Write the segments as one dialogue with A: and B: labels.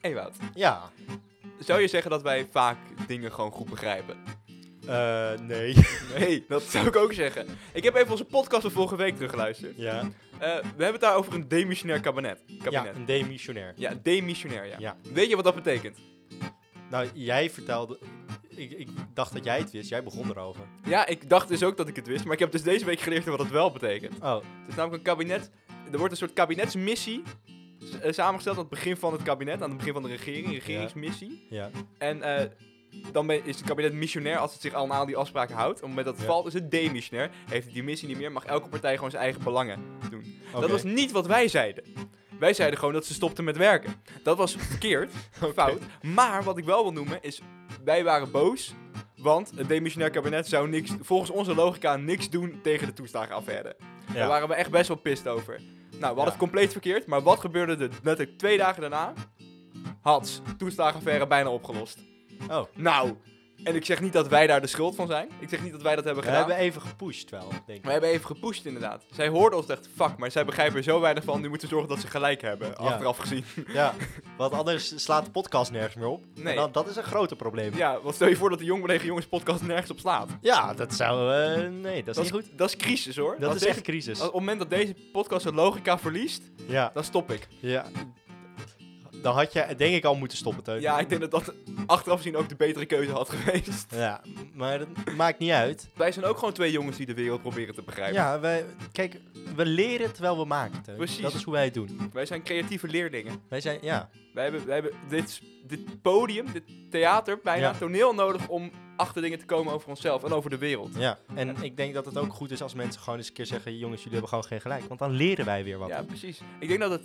A: Ewout,
B: Ja.
A: zou je zeggen dat wij vaak dingen gewoon goed begrijpen?
B: Eh, nee.
A: Nee, dat zou ik ook zeggen. Ik heb even onze podcast van vorige week teruggeluisterd.
B: ja.
A: Eh, we hebben het daar over een demissionair kabinet.
B: ja,
A: kabinet.
B: een demissionair.
A: Ja, demissionair, ja.
B: Ja.
A: Weet je wat dat betekent?
B: Nou, jij vertelde... Ik, ik dacht dat jij het wist. Jij begon erover.
A: Ja, ik dacht dus ook dat ik het wist, maar ik heb dus deze week geleerd wat het wel betekent.
B: Oh,
A: Het is namelijk een kabinet. Er wordt een soort kabinetsmissie s- eh, samengesteld aan het begin van het kabinet, aan het begin van de regering, een regeringsmissie.
B: ja.
A: En eh, dan ben- is het kabinet missionair als het zich al aan die afspraken houdt. Op het moment dat het
B: Ja.
A: valt, is het demissionair. Heeft het die missie niet meer, mag elke partij gewoon zijn eigen belangen doen.
B: Oké.
A: Dat was niet wat wij zeiden. Wij zeiden gewoon dat ze stopten met werken. Dat was verkeerd, fout. Maar wat ik wel wil noemen is, wij waren boos. Want het demissionair kabinet zou niks, volgens onze logica niks doen tegen de toeslagenaffaire. Daar
B: Ja.
A: waren we echt best wel pist over. Nou, we hadden
B: Ja.
A: het compleet verkeerd. Maar wat gebeurde er letterlijk twee dagen daarna? Hats, toeslagenaffaire bijna opgelost.
B: Oh.
A: Nou, en ik zeg niet dat wij daar de schuld van zijn. Ik zeg niet dat wij dat hebben
B: We
A: gedaan.
B: hebben even gepusht wel, denk
A: We
B: ik.
A: hebben even gepusht inderdaad. Zij hoorden ons en dachten, fuck, maar zij begrijpen er zo weinig van. Nu moeten we zorgen dat ze gelijk hebben, achteraf gezien.
B: Ja, want anders slaat de podcast nergens meer op.
A: Nee.
B: En dan, dat is een groter probleem.
A: Ja, want stel je voor dat de Jong tegen Jongens podcast nergens op slaat. Dat
B: Ja, dat zou... eh, nee, dat is niet goed.
A: Dat is crisis hoor.
B: Dat
A: Als
B: is
A: deze-
B: echt crisis.
A: als- op het moment dat deze podcast zijn logica verliest,
B: Ja.
A: dan stop ik.
B: ja. Dan had je denk ik al moeten stoppen, Teun.
A: Ja, ik denk dat dat achteraf gezien ook de betere keuze had geweest.
B: Ja, maar dat maakt niet uit.
A: Wij zijn ook gewoon twee jongens die de wereld proberen te begrijpen.
B: Ja, wij, kijk, we leren terwijl we maken. Teun.
A: Precies.
B: Dat is hoe wij het doen.
A: Wij zijn creatieve leerlingen.
B: Wij zijn, ja,
A: Wij hebben, wij hebben dit, dit podium, dit theater, bijna
B: Ja.
A: toneel nodig om achter dingen te komen over onszelf en over de wereld.
B: ja. En ik denk dat het ook goed is als mensen gewoon eens een keer zeggen: jongens, jullie hebben gewoon geen gelijk. Want dan leren wij weer wat.
A: Ja, precies. Ik denk dat het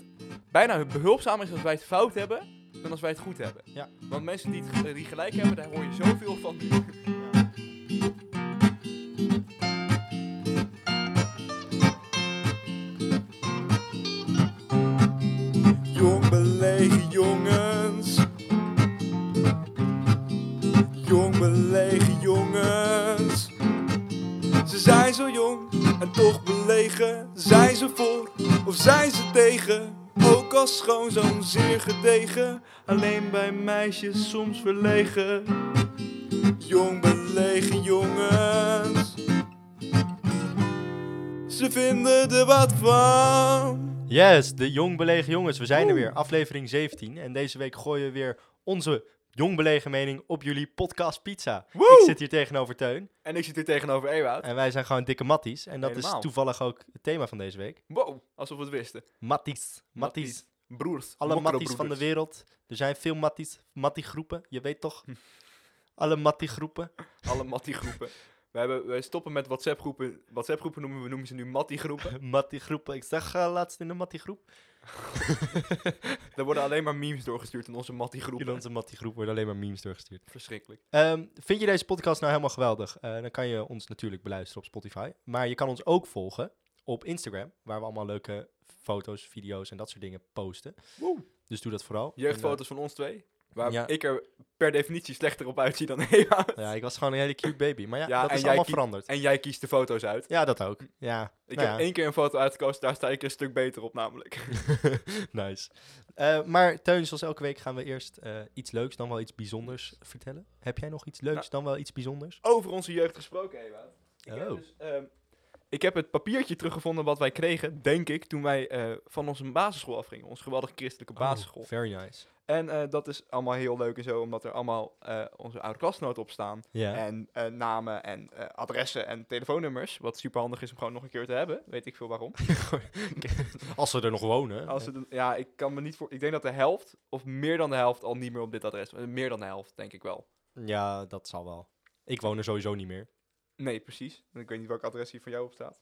A: bijna behulpzaam is als wij het fout hebben, dan als wij het goed hebben.
B: Ja.
A: Want mensen die, het ge- die gelijk hebben, daar hoor je zoveel van. Jong belegen jongens. Jong belegen jongens. Ze zijn zo jong en toch belegen. Zijn ze voor of zijn ze tegen? Ook als schoonzoon zeer gedegen. Alleen bij meisjes soms verlegen. Jong belegen jongens. Ze vinden er wat van.
B: Yes, de Jong Belegen Jongens, we zijn er weer, aflevering 17. En deze week gooien we weer onze Jong Belegen mening op jullie podcast pizza.
A: Woe!
B: Ik zit hier tegenover Teun
A: En ik zit hier tegenover Ewout.
B: en wij zijn gewoon dikke matties. En dat
A: Helemaal.
B: is toevallig ook het thema van deze week.
A: Wow, alsof we het wisten.
B: Matties, matties.
A: Matties. Broers.
B: Alle matties
A: mokkerbroeders.
B: van de wereld. Er zijn veel matties, mattiegroepen, je weet toch?
A: Hm.
B: Alle mattiegroepen.
A: Alle mattiegroepen. We, hebben, we stoppen met WhatsApp-groepen. WhatsApp-groepen noemen we noemen ze nu mattiegroepen.
B: Mattiegroepen. Ik zag eh, laatst in een mattiegroep.
A: Er worden alleen maar memes doorgestuurd in onze
B: In
A: mattiegroepen.
B: onze mattiegroep worden alleen maar memes doorgestuurd.
A: Verschrikkelijk.
B: Ehm, vind je deze podcast nou helemaal geweldig? Eh, dan kan je ons natuurlijk beluisteren op Spotify. Maar je kan ons ook volgen op Instagram, waar we allemaal leuke foto's, video's en dat soort dingen posten.
A: Woe.
B: Dus doe dat vooral. En,
A: Jeugdfoto's van ons twee. Waar
B: Ja.
A: ik er per definitie slechter op uitzie dan Ewout.
B: eh, ja, ik was gewoon een hele cute baby. Maar ja,
A: Ja,
B: dat
A: en
B: is
A: jij
B: allemaal
A: kie-
B: veranderd.
A: En jij kiest de foto's uit.
B: Ja, dat ook. Ja,
A: Ik
B: nou
A: heb
B: ja.
A: één keer een foto uitgekozen, daar sta ik een stuk beter op namelijk.
B: nice. Eh, maar Teun, zoals elke week gaan we eerst eh, iets leuks, dan wel iets bijzonders vertellen. Heb jij nog iets leuks,
A: Nou.
B: dan wel iets bijzonders?
A: Over onze jeugd gesproken, Ewout. Ik, heb,
B: Oh.
A: dus, ehm, ik heb het papiertje teruggevonden wat wij kregen, denk ik, toen wij eh, van onze basisschool afgingen. Onze geweldige christelijke basisschool.
B: Oh, very nice.
A: En eh, dat is allemaal heel leuk en zo, omdat er allemaal eh, onze oud-klasnoten op staan.
B: Ja.
A: En eh, namen en eh, adressen en telefoonnummers. Wat super handig is om gewoon nog een keer te hebben. Weet ik veel waarom.
B: Als ze er nog wonen.
A: Als het, een- ja, ik kan me niet voor. Ik denk dat de helft, of meer dan de helft, al niet meer op dit adres. eh, Meer dan de helft, denk ik wel.
B: Ja, dat zal wel. Ik woon er sowieso niet meer.
A: Nee, precies. Want Ik weet niet welk adres hier van jou op staat.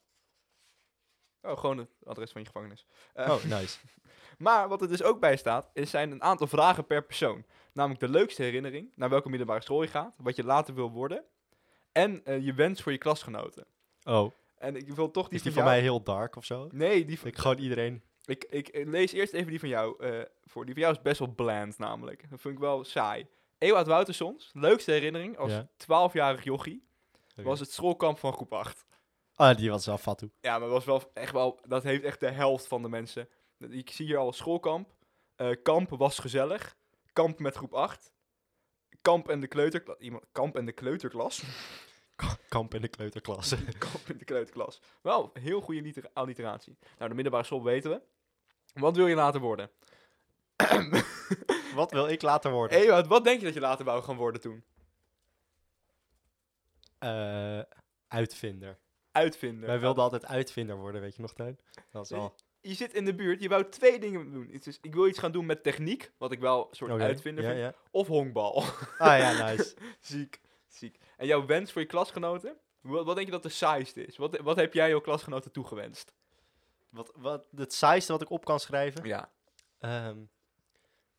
A: Oh, gewoon het adres van je gevangenis. Eh,
B: Oh, nice.
A: Maar wat er dus ook bij staat, is zijn een aantal vragen per persoon. Namelijk de leukste herinnering, naar welke middelbare school je gaat, wat je later wil worden. En eh, je wens voor je klasgenoten.
B: Oh,
A: En ik wil toch die,
B: is die
A: van
B: van
A: jou-
B: mij heel dark of zo?
A: Nee, die van...
B: Dat ik gewoon iedereen...
A: Ik, ik eh, lees eerst even die van jou eh, voor. Die van jou is best wel bland namelijk. Dat vind ik wel saai. Ewout Woutersons, leukste herinnering als
B: Ja.
A: 12-jarig jochie,
B: Oké.
A: was het schoolkamp van groep 8.
B: Ah, die was wel fatu.
A: Ja, maar was wel echt wel, dat heeft echt de helft van de mensen. Ik zie hier al schoolkamp. Eh, kamp was gezellig. Kamp met groep 8. Kamp en de kleuterklas. Iemand, kamp en de kleuterklas.
B: Kamp in de kleuterklasse.
A: kamp en de kleuterklas. Wel, heel goede liter- alliteratie. Nou, de middelbare school weten we. Wat wil je later worden?
B: Wat wil ik later worden?
A: Ewout, wat denk je dat je later wou gaan worden toen?
B: Eh, uitvinder.
A: Uitvinden.
B: Wij wilden altijd uitvinder worden, weet je nog, Teun? Dat is
A: Nee,
B: al...
A: Je zit in de buurt, je wou twee dingen doen. Het is, ik wil iets gaan doen met techniek, wat ik wel een soort
B: Oké,
A: uitvinder
B: Oh, ja,
A: vind.
B: ja.
A: Of honkbal.
B: Ah ja, nice.
A: ziek, ziek. En jouw wens voor je klasgenoten? Wat, wat denk je dat de saaiste is? Wat, wat heb jij jouw klasgenoten toegewenst?
B: Wat, wat, het saaiste wat ik op kan schrijven...
A: Ja.
B: ehm,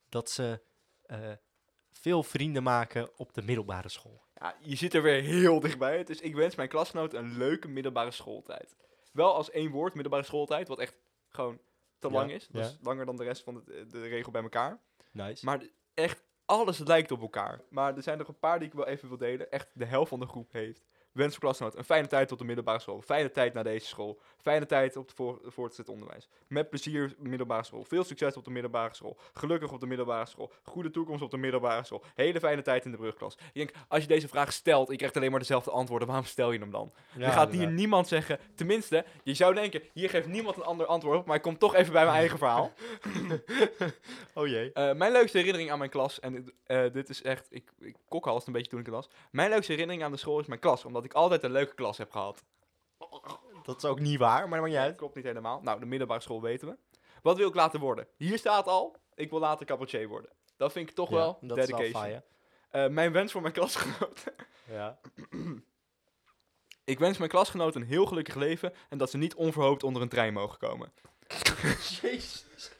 B: dat ze eh, veel vrienden maken op de middelbare school.
A: ja. Je zit er weer heel dichtbij. Dus ik wens mijn klasgenoten een leuke middelbare schooltijd. Wel als één woord, middelbare schooltijd, wat echt gewoon te
B: Ja,
A: lang is. Dat
B: ja.
A: is langer dan de rest van de, de regel bij elkaar.
B: Nice.
A: Maar de- echt, alles lijkt op elkaar. Maar er zijn nog een paar die ik wel even wil delen. Echt, de helft van de groep heeft. Wens voor klasgenoot. Een fijne tijd tot de middelbare school. Fijne tijd naar deze school. Fijne tijd op het voor, voortgezet onderwijs. Met plezier middelbare school. Veel succes op de middelbare school. Gelukkig op de middelbare school. Goede toekomst op de middelbare school. Hele fijne tijd in de brugklas. Ik denk, als je deze vraag stelt, je krijgt alleen maar dezelfde antwoorden. Waarom stel je hem dan? je
B: Ja,
A: gaat hier
B: inderdaad.
A: niemand zeggen. Tenminste, je zou denken, hier geeft niemand een ander antwoord op. Maar ik kom toch even bij mijn eigen verhaal.
B: Oh jee.
A: Eh, mijn leukste herinnering aan mijn klas, en dit- eh, dit is echt, ik, ik kokhalst een beetje toen ik het las. Mijn leukste herinnering aan de school is mijn klas, omdat ik altijd een leuke klas heb gehad.
B: Dat is ook niet waar, maar dat maakt niet
A: Dat
B: uit.
A: klopt niet helemaal. Nou, de middelbare school weten we. Wat wil ik later worden? Hier staat al, ik wil later cabaretier worden. Dat vind ik toch
B: Ja,
A: wel
B: dat
A: dedication.
B: is wel faaien.
A: Eh, mijn wens voor mijn klasgenoten.
B: Ja.
A: ik wens mijn klasgenoten een heel gelukkig leven en dat ze niet onverhoopt onder een trein mogen komen.
B: Jezus.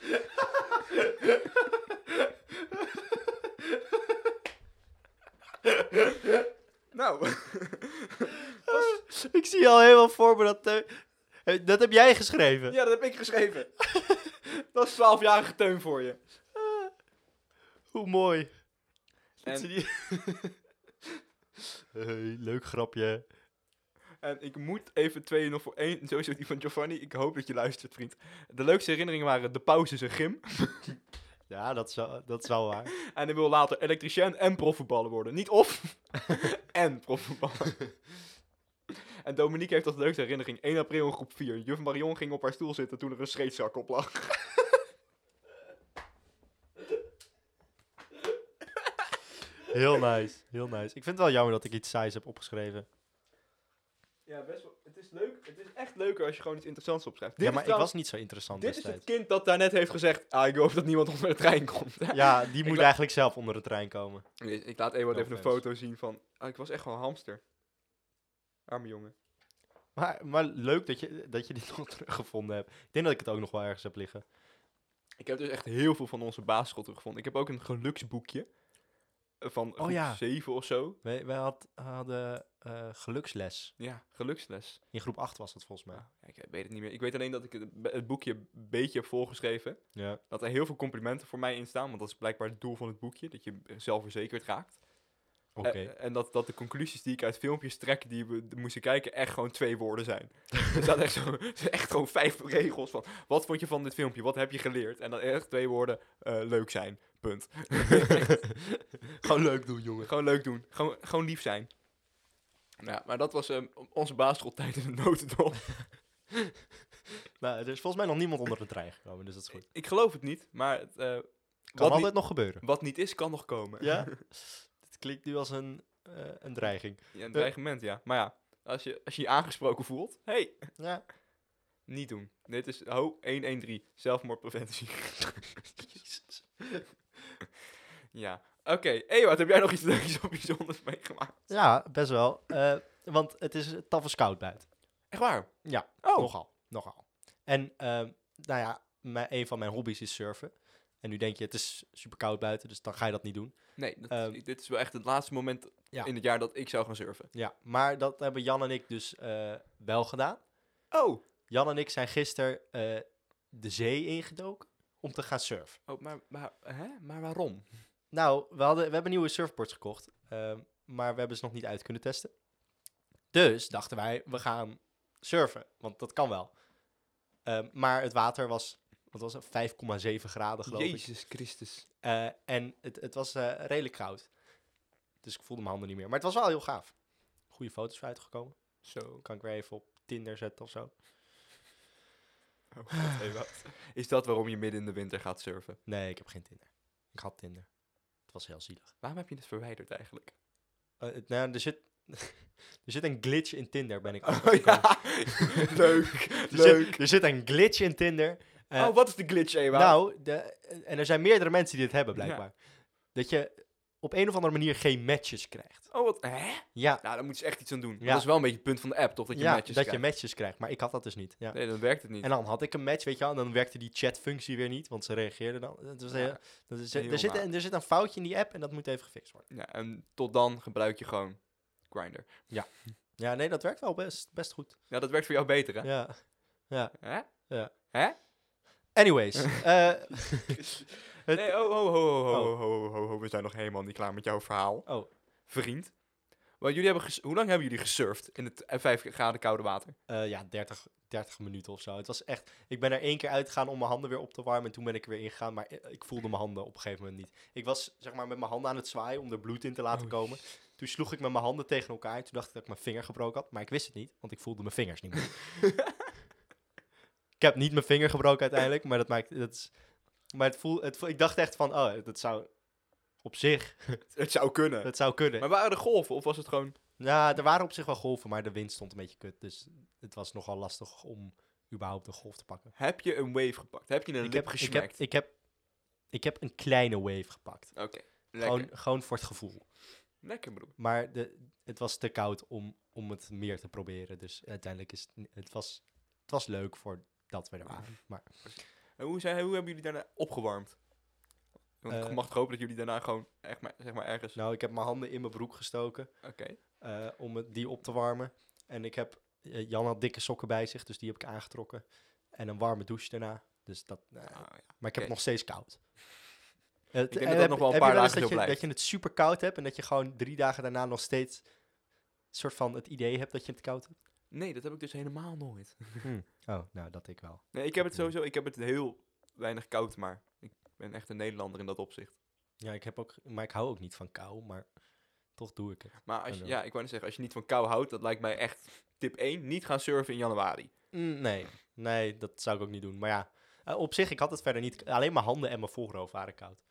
A: Nou,
B: Ik zie al helemaal voor me dat... Teun- Hey, Dat heb jij geschreven.
A: ja, dat heb ik geschreven. dat is 12-jarige teun voor je.
B: Hoe mooi.
A: En-
B: Zie je die- Hey, leuk grapje.
A: En ik moet even twee nog voor één. Sowieso die van Giovanni. Ik hoop dat je luistert, vriend. De leukste herinneringen waren de pauze is een gym.
B: Ja, dat is, wel, dat is wel waar.
A: En ik wil later elektricien en profvoetballer worden. Niet of, en profvoetballer. En Dominique heeft als leukste herinnering 1 april in groep 4. Juf Marion ging op haar stoel zitten toen er een scheetzak op lag.
B: Heel nice, heel nice. Ik vind het wel jammer dat ik iets saais heb opgeschreven.
A: Ja, best wel. Het is leuk. Het is echt leuker als je gewoon iets interessants opschrijft. Dit
B: ja,
A: is
B: maar ik
A: trouwens-
B: was niet zo interessant
A: Dit is het
B: destijds.
A: kind dat daarnet heeft gezegd. Ah, ik hoop dat niemand onder de trein komt.
B: Ja, die moet
A: la-
B: eigenlijk zelf onder de trein komen.
A: Nee, Ik laat Ewout
B: No
A: even een
B: offense.
A: foto zien van. Ah, ik was echt gewoon een hamster. Arme jongen.
B: Maar, maar leuk dat je, dat je dit nog teruggevonden hebt. Ik denk dat ik het ook nog wel ergens heb liggen.
A: Ik heb dus echt heel veel van onze basisschool teruggevonden. Ik heb ook een geluksboekje. eh, Van groep
B: ja.
A: 7 of zo.
B: Wij, wij had- hadden eh, geluksles.
A: Ja, geluksles. Ah,
B: In groep 8 was dat volgens mij.
A: Ja, ik weet het niet meer. Ik weet alleen dat ik het, b- het boekje een beetje heb volgeschreven.
B: Ja.
A: Dat er heel veel complimenten voor mij in staan. Want dat is blijkbaar het doel van het boekje. Dat je eh, zelfverzekerd raakt.
B: Oké.
A: Eh, en dat, dat de conclusies die ik uit filmpjes trek, die we d- moesten kijken, echt gewoon twee woorden zijn. er staan echt, zo, echt gewoon vijf regels van, wat vond je van dit filmpje? Wat heb je geleerd? En dan echt twee woorden, eh, leuk zijn. Punt.
B: Gewoon leuk doen, jongen.
A: Gewoon leuk doen. Gewoon, gewoon lief zijn. Ja, maar dat was ehm, onze basisschooltijd in de notendop.
B: Nou, er is volgens mij nog niemand onder de trein gekomen, dus dat is goed.
A: ik geloof het niet, maar het, eh,
B: Kan
A: wat,
B: altijd
A: niet,
B: nog gebeuren.
A: wat niet is, kan nog komen.
B: Ja? Dit klinkt nu als een, eh, een dreiging.
A: Ja, een dreigement, ja. Maar ja, als je als je, je aangesproken voelt, hey,
B: Ja.
A: niet doen. Dit is, ho, 113, zelfmoordpreventie. ja, oké. Ewout, heb jij nog iets leuks of bijzonders meegemaakt?
B: Ja, best wel. Eh, want het is tafels koud buiten.
A: Echt waar?
B: Ja,
A: Oh.
B: nogal. Nogal. En ehm, nou ja, mijn, een van mijn hobby's is surfen. En nu denk je, het is super koud buiten, dus dan ga je dat niet doen.
A: Nee, dat,
B: Ehm.
A: dit is wel echt het laatste moment
B: Ja.
A: in het jaar dat ik zou gaan surfen.
B: Ja, maar dat hebben Jan en ik dus eh, wel gedaan.
A: Oh,
B: Jan en ik zijn gisteren eh, de zee ingedoken om te gaan surfen.
A: oh maar, maar, hè? maar waarom?
B: Nou, we, hadden, we hebben nieuwe surfboards gekocht, ehm, maar we hebben ze nog niet uit kunnen testen. Dus dachten wij, we gaan surfen, want dat kan wel. Ehm, maar het water was wat was het, 5,7 graden geloof ik.
A: Jezus Christus.
B: Eh, en het, het was eh, redelijk koud. Dus ik voelde mijn handen niet meer. Maar het was wel heel gaaf. Goede foto's voor uitgekomen.
A: Zo.
B: Kan ik weer even op Tinder zetten of zo?
A: Oh, God, hey, wat. Is dat waarom je midden in de winter gaat surfen?
B: Nee, ik heb geen Tinder. Ik had Tinder. Het was heel zielig.
A: Waarom heb je dit verwijderd eigenlijk?
B: Eh, het- nou, er zit, er zit een glitch in Tinder, ben ik
A: Oh
B: achtergekomen.
A: ja, leuk,
B: Er
A: leuk.
B: Zit, er zit een glitch in Tinder. eh,
A: oh, wat is de glitch, Ewa?
B: Nou, de, en er zijn meerdere mensen die dit hebben blijkbaar. Dat je op een of andere manier geen matches krijgt.
A: Oh, wat? Hè?
B: Ja,
A: Nou, daar moet je echt iets aan doen.
B: Ja.
A: Dat is wel een beetje het punt van de app, toch? Dat je
B: ja,
A: matches
B: dat je
A: krijgt.
B: matches krijgt. Maar ik had dat dus niet. Ja.
A: Nee, dan werkt het niet.
B: En dan had ik een match, weet je wel. En dan werkte die chatfunctie weer niet, want ze reageerden dan. Dat was
A: Ja,
B: heel- dat is,
A: heel
B: er, zit,
A: raar.
B: een- er zit een foutje in die app en dat moet even gefixt worden.
A: Ja, en tot dan gebruik je gewoon Grindr.
B: Ja, nee, dat werkt wel best, best goed.
A: Ja, dat werkt voor jou beter, hè?
B: Ja. ja.
A: Hè?
B: Ja.
A: Hè?
B: Anyways. eh, Het-
A: Nee, oh, ho, ho, ho, ho, ho,
B: Oh.
A: ho, ho, ho, we zijn nog helemaal niet klaar met jouw verhaal.
B: Oh.
A: Vriend. Want jullie hebben ges- Hoe lang hebben jullie gesurfd in het eh, 5 graden koude water?
B: eh, ja, 30, 30 minuten of zo. Het was echt... Ik ben er één keer uitgegaan om mijn handen weer op te warmen. En toen ben ik er weer ingegaan. Maar i- ik voelde mijn handen op een gegeven moment niet. Ik was zeg maar met mijn handen aan het zwaaien om er bloed in te laten
A: Oh,
B: komen. Toen sloeg ik met mijn handen tegen elkaar. Toen dacht ik dat ik mijn vinger gebroken had. Maar ik wist het niet, want ik voelde mijn vingers niet meer. ik heb niet mijn vinger gebroken uiteindelijk. Maar dat maakt... Dat is, maar het voel, het voel- ik dacht echt van, oh, dat zou op zich,
A: Het zou kunnen.
B: dat zou kunnen.
A: Maar waren er golven of was het gewoon...
B: Ja, Nou, er waren op zich wel golven, maar de wind stond een beetje kut. Dus het was nogal lastig om überhaupt een golf te pakken.
A: Heb je een wave gepakt? Heb je een
B: ik,
A: lip
B: heb, ik, heb,
A: gesmakt?
B: ik, heb, ik heb een kleine wave gepakt.
A: Oké, lekker.
B: Gewoon, gewoon voor het gevoel.
A: Lekker, broer.
B: Maar de, het was te koud om, om het meer te proberen. Dus uiteindelijk is het, ni- het, was, het was leuk voor dat we er waren. Maar
A: En hoe, zijn, hoe hebben jullie daarna opgewarmd? Want ik
B: Eh.
A: mag toch hopen dat jullie daarna gewoon echt maar, zeg maar ergens...
B: nou, ik heb mijn handen in mijn broek gestoken
A: Oké.
B: eh, om het, die op te warmen. En ik heb, eh, Jan had dikke sokken bij zich, dus die heb ik aangetrokken. En een warme douche daarna. Dus dat, nou,
A: Ah, ja.
B: Maar ik heb
A: Oké.
B: het nog steeds koud. Het,
A: denk
B: en
A: dat dat
B: heb-
A: nog wel een
B: heb
A: paar
B: je eens
A: dagen zo
B: dat je,
A: blijft.
B: dat je het super koud hebt en dat je gewoon drie dagen daarna nog steeds soort van het idee hebt dat je het koud hebt?
A: Nee, dat heb ik dus helemaal nooit.
B: Oh, nou, dat ik wel.
A: Nee, ik heb het
B: Hmm.
A: sowieso, ik heb het heel weinig koud, maar ik ben echt een Nederlander in dat opzicht.
B: Ja, ik heb ook, maar ik hou ook niet van kou, maar toch doe ik het.
A: Maar als je,
B: Hallo.
A: Oh, ja, ik wou net zeggen, als je niet van kou houdt, dat lijkt mij echt tip 1, niet gaan surfen in januari.
B: Mm, nee, nee, dat zou ik ook niet doen. Maar ja, eh, op zich, ik had het verder niet. k- Alleen mijn handen en mijn voorhoofd waren koud.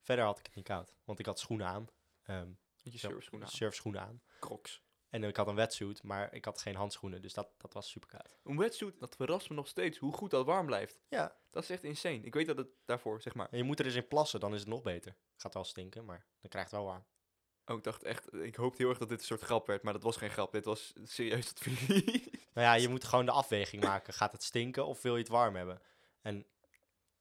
B: Verder had ik het niet koud, want ik had schoenen aan. ehm,
A: Met je
B: Ja,
A: surfschoenen aan.
B: surfschoenen aan.
A: Crocs.
B: En ik had een wetsuit, maar ik had geen handschoenen, dus dat, dat was super koud.
A: Een wetsuit, dat verrast me nog steeds, hoe goed dat warm blijft.
B: Ja,
A: Dat is echt insane. Ik weet dat het daarvoor, zeg maar.
B: En je moet er eens in plassen, dan is het nog beter. Gaat wel stinken, maar dan krijgt het wel warm.
A: Oh, ik dacht echt, ik hoopte heel erg dat dit een soort grap werd, maar dat was geen grap. Dit was serieus advies.
B: Nou ja, je moet gewoon de afweging maken. Gaat het stinken of wil je het warm hebben? En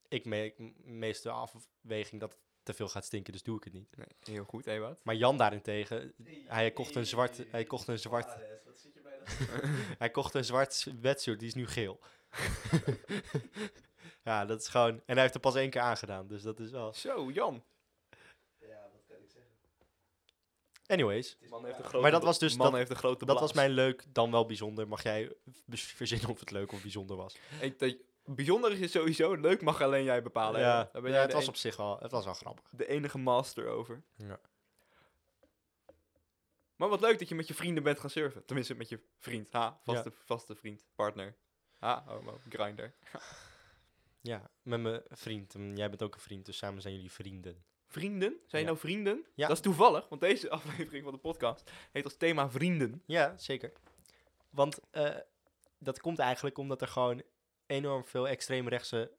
B: ik maak m- meestal de afweging dat het te veel gaat stinken, dus doe ik het niet.
A: nee, heel goed, Ewout.
B: Maar Jan daarentegen, hij kocht een zwart, hij kocht een zwart, hij kocht een zwart s- wetsuit, die is nu geel. ja, dat is gewoon, en hij heeft er pas één keer aangedaan, dus dat is wel.
A: Zo, Jan.
B: Anyways,
A: Man heeft een grote
B: Maar dat was dus-
A: Man
B: dat-
A: heeft een grote
B: dat was
A: blaas.
B: mijn leuk, dan wel bijzonder. Mag jij bes- verzinnen of het leuk of bijzonder was?
A: Ik, dat, bijzonder is het sowieso. Leuk mag alleen jij bepalen. Ewa.
B: Ja,
A: Daar ben
B: ja,
A: jij
B: het
A: de
B: was
A: en-
B: op zich wel, het was wel grappig.
A: de enige master over.
B: Ja.
A: Maar wat leuk dat je met je vrienden bent gaan surfen. Tenminste, met je vriend. Ha, vaste, vaste vriend, partner. Ha, homo, grinder.
B: Ja, met mijn vriend. Mm, Jij bent ook een vriend, dus samen zijn jullie vrienden.
A: Vrienden? Zijn je
B: Ja.
A: nou vrienden?
B: Ja.
A: Dat is toevallig, want deze aflevering van de podcast heet als thema vrienden.
B: Ja, zeker. Want eh, dat komt eigenlijk omdat er gewoon enorm veel extreemrechtse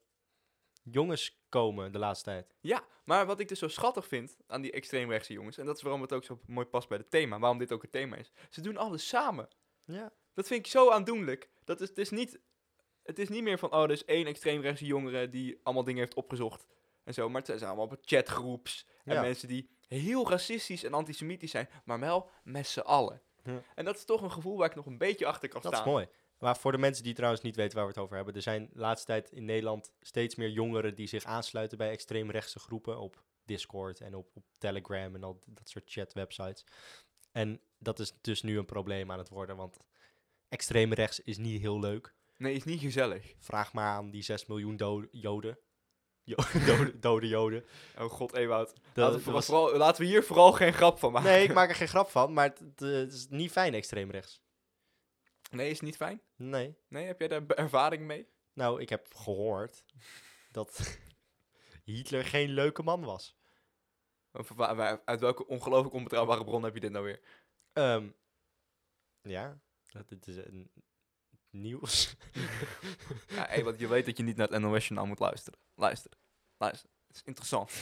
B: jongens komen de laatste tijd.
A: Ja, maar wat ik dus zo schattig vind aan die extreemrechtse jongens, en dat is waarom het ook zo mooi past bij het thema, waarom dit ook het thema is. Ze doen alles samen.
B: Ja.
A: Dat vind ik zo aandoenlijk. Dat is, het, is niet, het is niet meer van, oh, er is één extreemrechtse jongere die allemaal dingen heeft opgezocht en zo. Maar het zijn allemaal chatgroeps en
B: Ja.
A: mensen die heel racistisch en antisemitisch zijn, maar wel met z'n allen.
B: Ja.
A: En dat is toch een gevoel waar ik nog een beetje achter kan
B: Dat is
A: staan.
B: mooi. Maar voor de mensen die trouwens niet weten waar we het over hebben, er zijn de laatste tijd in Nederland steeds meer jongeren die zich aansluiten bij extreemrechtse groepen op Discord en op, op Telegram en al dat soort chatwebsites. En dat is dus nu een probleem aan het worden, want extreemrechts is niet heel leuk.
A: Nee, is niet gezellig.
B: Vraag maar aan die 6 miljoen dode, joden. Jo- dode, dode joden.
A: Oh god, Ewout.
B: Dat-
A: Laten we,
B: dat
A: vooral-
B: was-
A: vooral- laten we hier vooral geen grap van maken.
B: Nee, ik maak er geen grap van, maar het, het, eh, het is niet fijn extreem rechts.
A: Nee, is niet fijn?
B: Nee.
A: Nee, heb jij daar be- ervaring mee?
B: Nou, ik heb gehoord dat Hitler geen leuke man was.
A: Of wa- waar- uit welke ongelooflijk onbetrouwbare bron heb je dit nou weer?
B: Ehm, ja, dat, dit is een nieuws.
A: Ja, hey, want je weet dat je niet naar het NOS-journaal moet luisteren. Luister, luister. Het is interessant.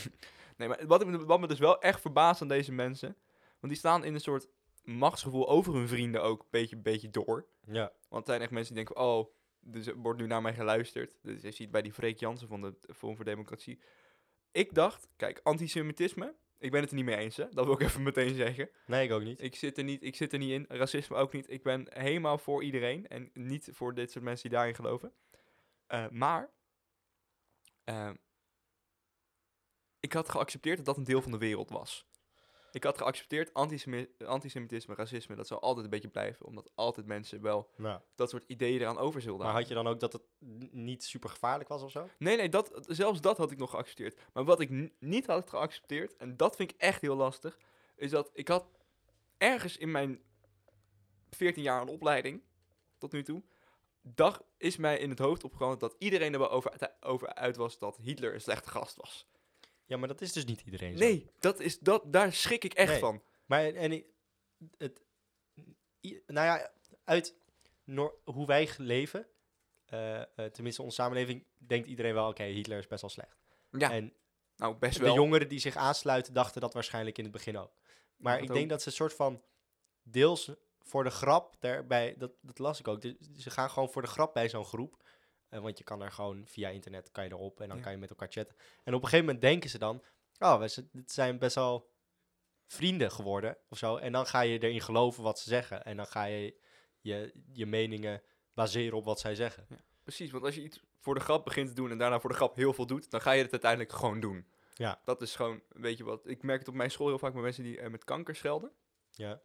A: Nee, maar wat, me- wat me dus wel echt verbaast aan deze mensen... Want die staan in een soort machtsgevoel over hun vrienden ook een beetje, beetje door.
B: ja.
A: Want het zijn echt mensen die denken... Oh, dus er wordt nu naar mij geluisterd. Dus je ziet bij die Freek Jansen van de Forum voor Democratie. Ik dacht, kijk, antisemitisme... Ik ben het er niet mee eens, hè. Dat wil ik even meteen zeggen.
B: Nee, ik ook niet.
A: Ik zit er niet, ik zit er niet in. Racisme ook niet. Ik ben helemaal voor iedereen. En niet voor dit soort mensen die daarin geloven. Eh, maar. eh, ik had geaccepteerd dat dat een deel van de wereld was. Ik had geaccepteerd antisemi- antisemitisme, racisme. Dat zal altijd een beetje blijven. Omdat altijd mensen wel
B: Ja.
A: dat soort ideeën eraan over zullen
B: Maar
A: houden.
B: had je dan ook dat het n- niet super gevaarlijk was of zo?
A: Nee, nee, dat, zelfs dat had ik nog geaccepteerd. Maar wat ik n- niet had geaccepteerd, en dat vind ik echt heel lastig, is dat ik had ergens in mijn 14 jaar aan opleiding, tot nu toe, dag is mij in het hoofd opgekomen dat iedereen er wel over, over uit was dat Hitler een slechte gast was.
B: Ja, maar dat is dus niet iedereen zo.
A: Nee, dat is, dat, daar schrik ik echt
B: Nee.
A: van.
B: Maar en ik- het, i- nou ja, uit Noor- hoe wij g- leven, eh, eh, tenminste onze samenleving, denkt iedereen wel, oké, Hitler is best wel slecht.
A: Ja,
B: en
A: nou best
B: de
A: wel.
B: jongeren die zich aansluiten, dachten dat waarschijnlijk in het begin ook. Maar
A: dat
B: ik denk
A: ook.
B: dat ze een soort van deels voor de grap daarbij, dat, dat las ik ook. Dus ze gaan gewoon voor de grap bij zo'n groep. Eh, want je kan er gewoon via internet kan je erop en dan
A: Ja.
B: kan je met elkaar chatten. En op een gegeven moment denken ze dan, oh, we z- dit zijn best wel vrienden geworden of zo. En dan ga je erin geloven wat ze zeggen. En dan ga je je, je meningen baseren op wat zij zeggen.
A: Precies, want als je iets voor de grap begint te doen en daarna voor de grap heel veel doet, dan ga je het uiteindelijk gewoon doen.
B: Ja.
A: Dat is gewoon, weet je wat, ik merk het op mijn school heel vaak met mensen die eh, met kanker schelden.
B: Ja.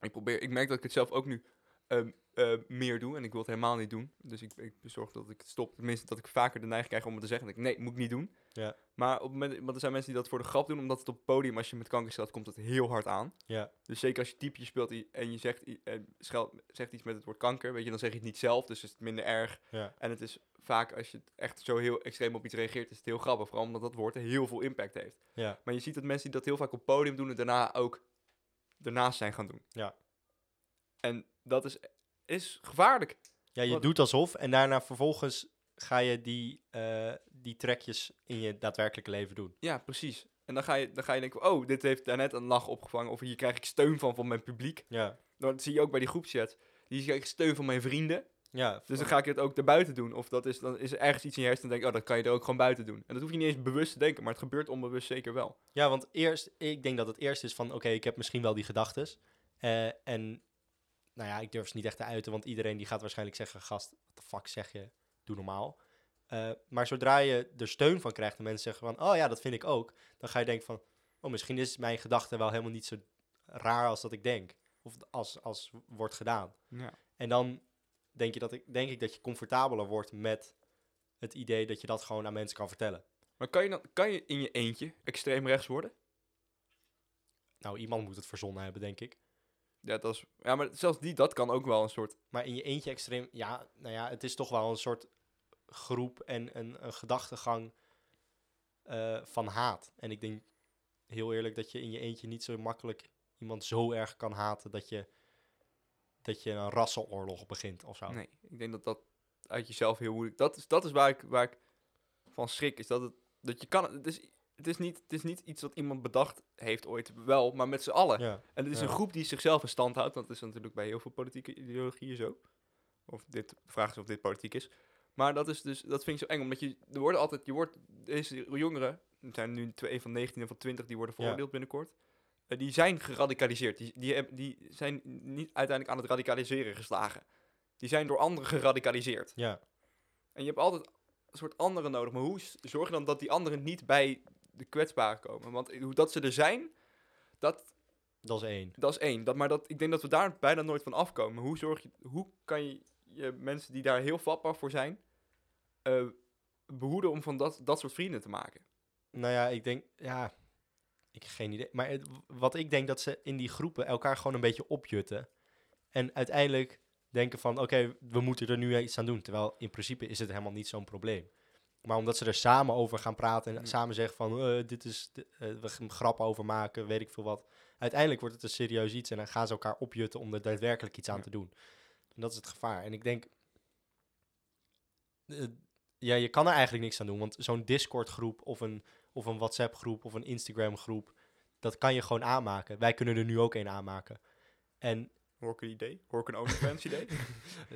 A: Ik, probeer, ik merk dat ik het zelf ook nu ehm, eh, meer doe en ik wil het helemaal niet doen. Dus ik, ik zorg dat ik het stop, tenminste dat ik vaker de neiging krijg om het te zeggen. Dat ik, nee, moet ik niet doen.
B: Ja.
A: Maar op het moment, want er zijn mensen die dat voor de grap doen, omdat het op het podium, als je met kanker scheldt, komt het heel hard aan.
B: Ja.
A: Dus zeker als je typje speelt i- en je zegt, i- en scheld, zegt iets met het woord kanker, weet je, dan zeg je het niet zelf, dus is het minder erg.
B: Ja.
A: En het is vaak, als je het echt zo heel extreem op iets reageert, is het heel grappig. Vooral omdat dat woord heel veel impact heeft.
B: Ja.
A: Maar je ziet dat mensen die dat heel vaak op het podium doen en daarna ook daarnaast zijn gaan doen.
B: Ja.
A: En dat is, is gevaarlijk.
B: Ja, je
A: Wat-
B: doet alsof en daarna vervolgens ga je die, eh die trekjes in je daadwerkelijke leven doen.
A: Ja, precies. En dan ga je, dan ga je denken, oh, dit heeft daarnet een lach opgevangen. Of hier krijg ik steun van van mijn publiek.
B: Ja,
A: Dat zie je ook bij die groepschat. Hier krijg ik steun van mijn vrienden.
B: ja.
A: Dus dan ga ik het ook daarbuiten doen. Of dat is, dan is er ergens iets in je hersenen en denk ik, oh, dat kan je er ook gewoon buiten doen. En dat hoef je niet eens bewust te denken, maar het gebeurt onbewust zeker wel.
B: ja, want eerst, ik denk dat het eerst is van, oké, ik heb misschien wel die gedachtes. eh, en, nou ja, ik durf ze niet echt te uiten, want iedereen die gaat waarschijnlijk zeggen, gast, wat de fuck zeg je, doe normaal. Eh, maar zodra je er steun van krijgt en mensen zeggen van, oh ja, dat vind ik ook, dan ga je denken van, oh, misschien is mijn gedachte wel helemaal niet zo raar als dat ik denk. Of als, als wordt gedaan.
A: Ja.
B: En dan denk, je dat ik, denk ik dat je comfortabeler wordt met het idee dat je dat gewoon aan mensen kan vertellen.
A: Maar kan je, dan, kan je in je eentje extreem rechts worden?
B: Nou, iemand moet het verzonnen hebben, denk ik.
A: Ja, dat is, ja, maar zelfs die, dat kan ook wel een soort...
B: Maar in je eentje extreem, ja, nou ja, het is toch wel een soort groep en een, een gedachtegang eh, van haat. En ik denk heel eerlijk dat je in je eentje niet zo makkelijk iemand zo erg kan haten dat je, dat je een rassenoorlog begint of zo.
A: Nee, ik denk dat dat uit jezelf heel moeilijk... Dat is, dat is waar, ik, waar ik van schrik, is dat het... Dat je kan, het, is, het, is niet, het is niet iets dat iemand bedacht heeft ooit, wel, maar met z'n allen.
B: Ja,
A: En het is
B: ja.
A: een groep die zichzelf in stand houdt, want dat is natuurlijk bij heel veel politieke ideologieën zo. Of dit, vraag is of dit politiek is. Maar dat is dus, dat vind ik zo eng, omdat je, er worden altijd, je wordt, deze jongeren, er zijn nu twee van 19 en van 20 die worden
B: Ja.
A: veroordeeld binnenkort. Eh, die zijn geradicaliseerd. Die, die, heb- die zijn niet uiteindelijk aan het radicaliseren geslagen. Die zijn door anderen geradicaliseerd.
B: ja,
A: En je hebt altijd een soort anderen nodig. Maar hoe s- zorg je dan dat die anderen niet bij de kwetsbaren komen? Want eh, hoe dat ze er zijn, dat
B: dat is één.
A: dat is één. Dat, maar dat, ik denk dat we daar bijna nooit van afkomen. Hoe, zorg je, hoe kan je je, mensen die daar heel vatbaar voor zijn, eh, behoeden om van dat, dat soort vrienden te maken.
B: Nou ja, ik denk, ja, ik heb geen idee. Maar het- wat ik denk dat ze in die groepen elkaar gewoon een beetje opjutten. En uiteindelijk denken van, oké, we moeten er nu iets aan doen. Terwijl in principe is het helemaal niet zo'n probleem. Maar omdat ze er samen over gaan praten en
A: Ja.
B: samen zeggen van, eh, dit is, di- eh, we gaan grappen over maken, weet ik veel wat. Uiteindelijk wordt het een serieus iets en dan gaan ze elkaar opjutten om er daadwerkelijk iets aan
A: Ja.
B: te doen. En dat is het gevaar. En ik denk, eh, ja, je kan er eigenlijk niks aan doen. Want zo'n Discord-groep of een, of een WhatsApp-groep of een Instagram-groep, dat kan je gewoon aanmaken. Wij kunnen er nu ook een aanmaken. En
A: Hoor ik een idee? Hoor ik een OnlyFans idee?
B: eh,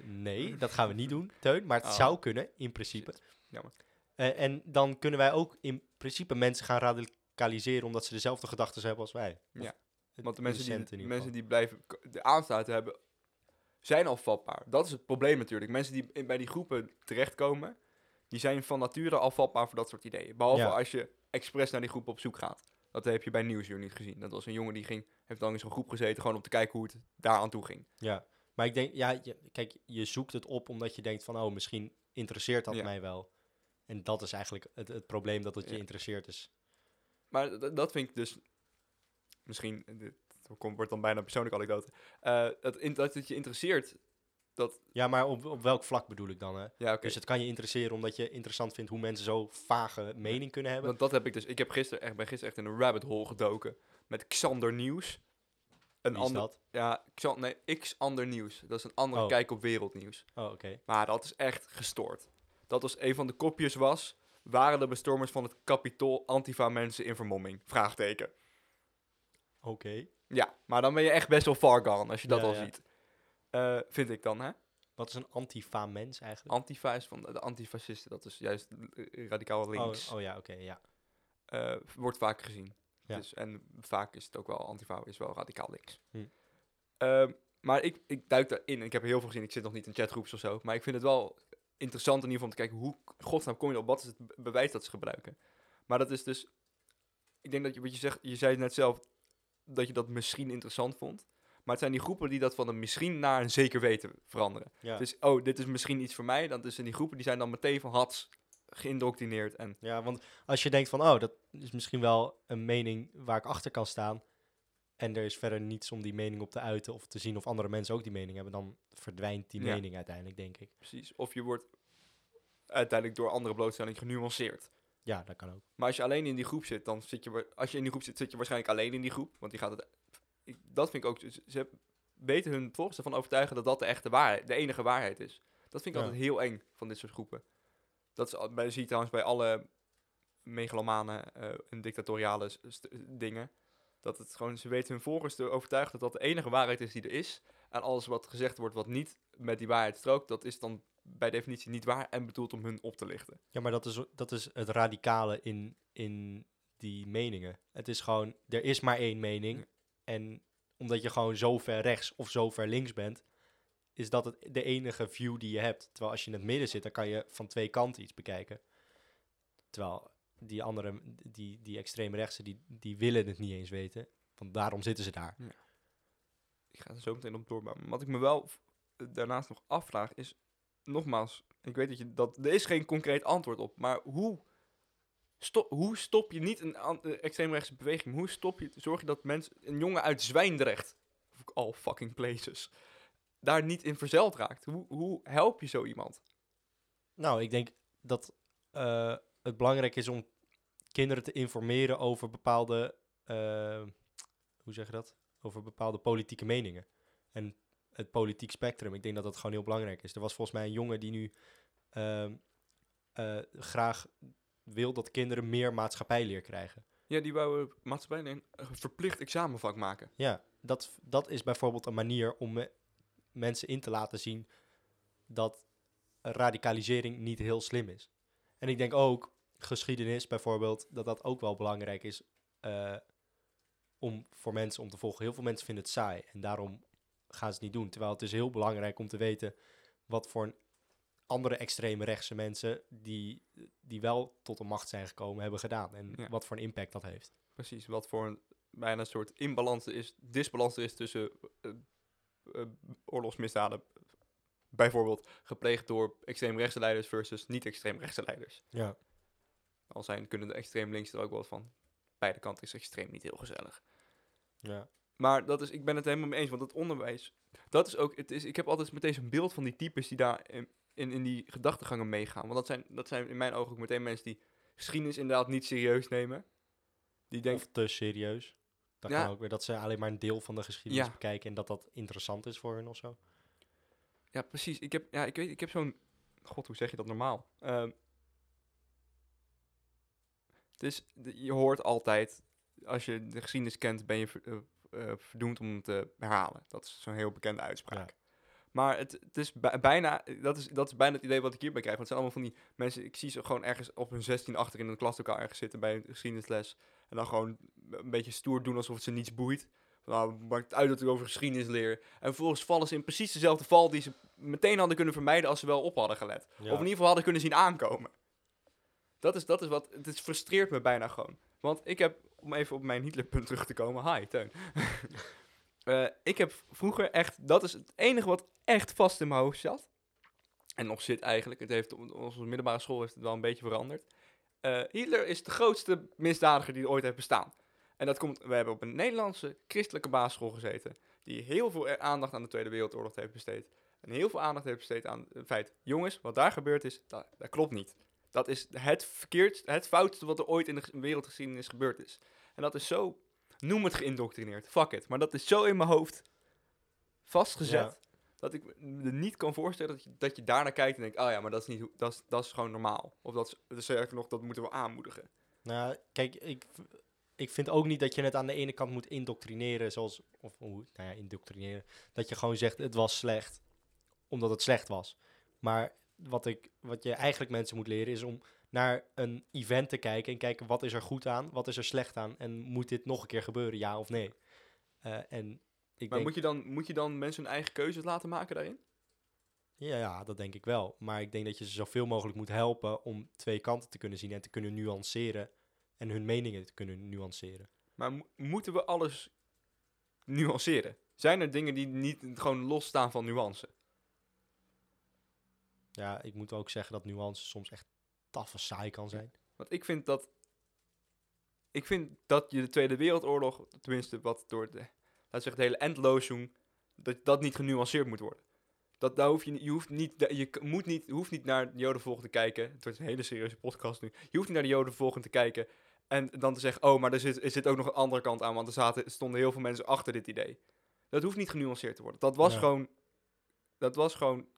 B: nee, dat gaan we niet doen, Teun. Maar het
A: Oh.
B: zou kunnen, in principe.
A: Jammer.
B: Eh, en dan kunnen wij ook in principe mensen gaan radicaliseren omdat ze dezelfde gedachten hebben als wij. Of
A: Ja,
B: het
A: Want de mensen
B: docenten
A: die,
B: in
A: de
B: ieder
A: mensen die blijven k- de aanstaat hebben, zijn al vatbaar. Dat is het probleem natuurlijk. Mensen die in- bij die groepen terechtkomen, die zijn van nature al vatbaar voor dat soort ideeën. Behalve
B: Ja.
A: als je expres naar die groep op zoek gaat. Dat heb je bij Nieuwsuur niet gezien. Dat was een jongen die ging, heeft dan in zo'n groep gezeten, gewoon om te kijken hoe het daar aan toe ging.
B: geval. Ja, maar ik denk, ja, je- kijk, je zoekt het op omdat je denkt van, oh, misschien interesseert dat
A: Ja.
B: mij wel. En dat is eigenlijk het, het probleem dat het je
A: Ja.
B: interesseert is.
A: Maar d- dat vind ik dus, misschien, eh, dit komt- wordt dan bijna een persoonlijke anekdote, Eh, dat, in, dat het je interesseert.
B: Ja, maar op, op welk vlak bedoel ik dan? Hè?
A: Ja, oké.
B: Dus het kan je interesseren omdat je interessant vindt hoe mensen zo vage mening kunnen hebben.
A: Want dat heb ik dus. Ik heb gisteren echt, ben gisteren echt in een rabbit hole gedoken. Met Xander Nieuws. Een
B: Wie is
A: ander.
B: dat?
A: Ja, Xan- nee, Xander Nieuws. Dat is een andere
B: Oh.
A: kijk op wereldnieuws.
B: Oh, oké.
A: Maar dat is echt gestoord. Dat als een van de kopjes was. Waren de bestormers van het kapitool antifa-mensen in vermomming? Vraagteken.
B: Oké.
A: Ja, maar dan ben je echt best wel far gone als je dat
B: Ja,
A: al
B: ja.
A: ziet. Eh, vind ik dan, hè?
B: Wat is een antifa mens eigenlijk?
A: Antifa is van de, de antifascisten. Dat is juist eh, radicaal links.
B: Oh, oh ja, oké, ja.
A: eh, wordt vaak gezien.
B: Ja.
A: Dus, en vaak is het ook wel, antifa is wel radicaal links.
B: Hm.
A: Ehm, maar ik, ik duik daarin en ik heb er heel veel gezien. Ik zit nog niet in chatgroeps of zo. Maar ik vind het wel interessant in ieder geval om te kijken hoe, godsnaam, kom je op, wat is het be- bewijs dat ze gebruiken. Maar dat is dus, ik denk dat je, wat je zegt, je zei net zelf dat je dat misschien interessant vond. Maar het zijn die groepen die dat van een misschien naar een zeker weten veranderen.
B: Ja.
A: Dus, oh, dit is misschien iets voor mij. Dan is in die groepen, die zijn dan meteen van hats geïndoctrineerd en
B: ja, want als je denkt van, oh, dat is misschien wel een mening waar ik achter kan staan. En er is verder niets om die mening op te uiten of te zien of andere mensen ook die mening hebben. Dan verdwijnt die
A: Ja.
B: mening uiteindelijk, denk ik.
A: Precies. Of je wordt uiteindelijk door andere blootstelling genuanceerd.
B: Ja, dat kan ook.
A: Maar als je alleen in die groep zit, dan zit je... wa- Als je in die groep zit, zit je waarschijnlijk alleen in die groep. Want die gaat het... Ik, dat vind ik ook... Ze ze weten hun volgers ervan overtuigen dat dat de echte waarheid... De enige waarheid is. Dat vind ik
B: Ja.
A: altijd heel eng van dit soort groepen. Dat is, al- bij, zie je trouwens bij alle megalomane eh, en dictatoriale s- st- dingen. Dat het gewoon... Ze weten hun volgers te overtuigen dat dat de enige waarheid is die er is. En alles wat gezegd wordt wat niet met die waarheid strookt... dat is dan bij definitie niet waar en bedoeld om hun op te lichten.
B: Ja, maar dat is, dat is het radicale in, in die meningen. Het is gewoon, er is maar één mening.
A: Ja.
B: En omdat je gewoon zo ver rechts of zo ver links bent, is dat het de enige view die je hebt. Terwijl als je in het midden zit, dan kan je van twee kanten iets bekijken. Terwijl die andere, die, die extreemrechtse, die, die willen het niet eens weten. Want daarom zitten ze daar.
A: ik ga er zo meteen op doorbouwen. Maar Wat ik me wel v- daarnaast nog afvraag is, nogmaals, ik weet dat je dat, er is geen concreet antwoord op, maar hoe, sto- hoe stop je niet een an- eh, extreemrechtse beweging? Hoe stop je, zorg je dat mensen, een jongen uit Zwijndrecht, of all fucking places, daar niet in verzeild raakt? Hoe, hoe help je zo iemand?
B: Nou, ik denk dat eh, het belangrijk is om kinderen te informeren over bepaalde, eh, hoe zeg je dat? Over bepaalde politieke meningen en het politiek spectrum. Ik denk dat dat gewoon heel belangrijk is. Er was volgens mij een jongen die nu ehm, eh, graag wil dat kinderen meer maatschappijleer krijgen.
A: Ja, die wou eh, maatschappij een verplicht examenvak maken.
B: Ja, dat, dat is bijvoorbeeld een manier om me- mensen in te laten zien dat radicalisering niet heel slim is. En ik denk ook geschiedenis bijvoorbeeld, dat dat ook wel belangrijk is eh, om voor mensen om te volgen. Heel veel mensen vinden het saai en daarom gaan ze het niet doen. Terwijl het is heel belangrijk om te weten wat voor andere extreme rechtse mensen die, die wel tot de macht zijn gekomen hebben gedaan. En
A: Ja.
B: wat voor een impact dat heeft.
A: Precies, wat voor een bijna een soort imbalans er is, disbalans er is tussen eh, eh, oorlogsmisdaden, bijvoorbeeld gepleegd door extreemrechtse leiders versus niet-extreemrechtse leiders.
B: Ja.
A: Al zijn kunnen de extreem links er ook wel wat van. Beide kanten is extreem niet heel gezellig.
B: ja.
A: Maar dat is, ik ben het helemaal mee eens, want het onderwijs, dat is ook, het is, ik heb altijd meteen zo'n beeld van die types die daar in, in, in die gedachtegangen meegaan. Want dat zijn, dat zijn in mijn ogen ook meteen mensen die geschiedenis inderdaad niet serieus nemen. Die denken,
B: Of te serieus. Dat
A: Ja.
B: kan ook weer dat ze alleen maar een deel van de geschiedenis
A: Ja.
B: bekijken en dat dat interessant is voor hun of zo.
A: Ja, precies. Ik heb, ja, ik weet, ik heb zo'n. God, hoe zeg je dat normaal? Ehm, het is, dus de- je hoort altijd, als je de geschiedenis kent, ben je ver- eh, eh, verdoemd om te herhalen. Dat is zo'n heel bekende uitspraak. Maar het, het is bij- bijna, dat is, dat is bijna het idee wat ik hierbij krijg. Want het zijn allemaal van die mensen, ik zie ze gewoon ergens op hun 16 achter in een klaslokaal ergens zitten bij een geschiedenisles. En dan gewoon een beetje stoer doen alsof het ze niets boeit. Van, Nou, maakt het uit dat ik over geschiedenis leer. En vervolgens vallen ze in precies dezelfde val die ze meteen hadden kunnen vermijden als ze wel op hadden gelet. Of in ieder geval hadden kunnen zien aankomen. Dat is, dat is wat, het is, frustreert me bijna gewoon. Want ik heb, om even op mijn Hitlerpunt terug te komen, hi Teun. Eh, ik heb vroeger echt, dat is het enige wat echt vast in mijn hoofd zat. En nog zit eigenlijk, het heeft, op onze middelbare school heeft het wel een beetje veranderd. Eh, Hitler is de grootste misdadiger die ooit heeft bestaan. En dat komt, we hebben op een Nederlandse christelijke basisschool gezeten die heel veel eh, aandacht aan de Tweede Wereldoorlog heeft besteed. En heel veel aandacht heeft besteed aan het feit, jongens, wat daar gebeurd is, dat, dat klopt niet. Dat is het verkeerd, het foutste wat er ooit in de ge- wereldgeschiedenis gebeurd is. En dat is zo, noem het geïndoctrineerd, fuck it. Maar dat is zo in mijn hoofd vastgezet,
B: Ja.
A: dat ik me niet kan voorstellen dat je, dat je daarnaar kijkt en denkt, oh ja, maar dat is, niet, hoe- dat is, dat is gewoon normaal. Of dat is, dus sterker nog, dat moeten we aanmoedigen.
B: Nou, kijk, ik, ik vind ook niet dat je het aan de ene kant moet indoctrineren, zoals, of hoe, nou ja, indoctrineren, dat je gewoon zegt het was slecht, omdat het slecht was. Maar wat, ik, wat je eigenlijk mensen moet leren is om naar een event te kijken en kijken wat is er goed aan, wat is er slecht aan en moet dit nog een keer gebeuren, ja of nee. Eh, en ik
A: Maar
B: denk,
A: moet je, dan, moet je dan mensen hun eigen keuzes laten maken daarin?
B: ja, ja, dat denk ik wel. Maar ik denk dat je ze zoveel mogelijk moet helpen om twee kanten te kunnen zien en te kunnen nuanceren en hun meningen te kunnen nuanceren.
A: Maar mo- moeten we alles nuanceren? Zijn er dingen die niet gewoon losstaan van nuance?
B: Ja, ik moet ook zeggen dat nuance soms echt taf en saai kan zijn.
A: Want ik vind dat. Ik vind dat je de Tweede Wereldoorlog, tenminste wat door de. Laat zeggen, de hele endlosing. Dat dat niet genuanceerd moet worden. Dat daar hoef je, ni- je hoeft niet. da- Je k- moet niet, je hoeft niet naar de Jodenvolgen te kijken. Het wordt een hele serieuze podcast nu. Je hoeft niet naar de Jodenvolgen te kijken. En dan te zeggen, oh, maar er zit, er zit ook nog een andere kant aan. Want er zaten, stonden heel veel mensen achter dit idee. Dat hoeft niet genuanceerd te worden. Dat was
B: Ja.
A: gewoon. Dat was gewoon.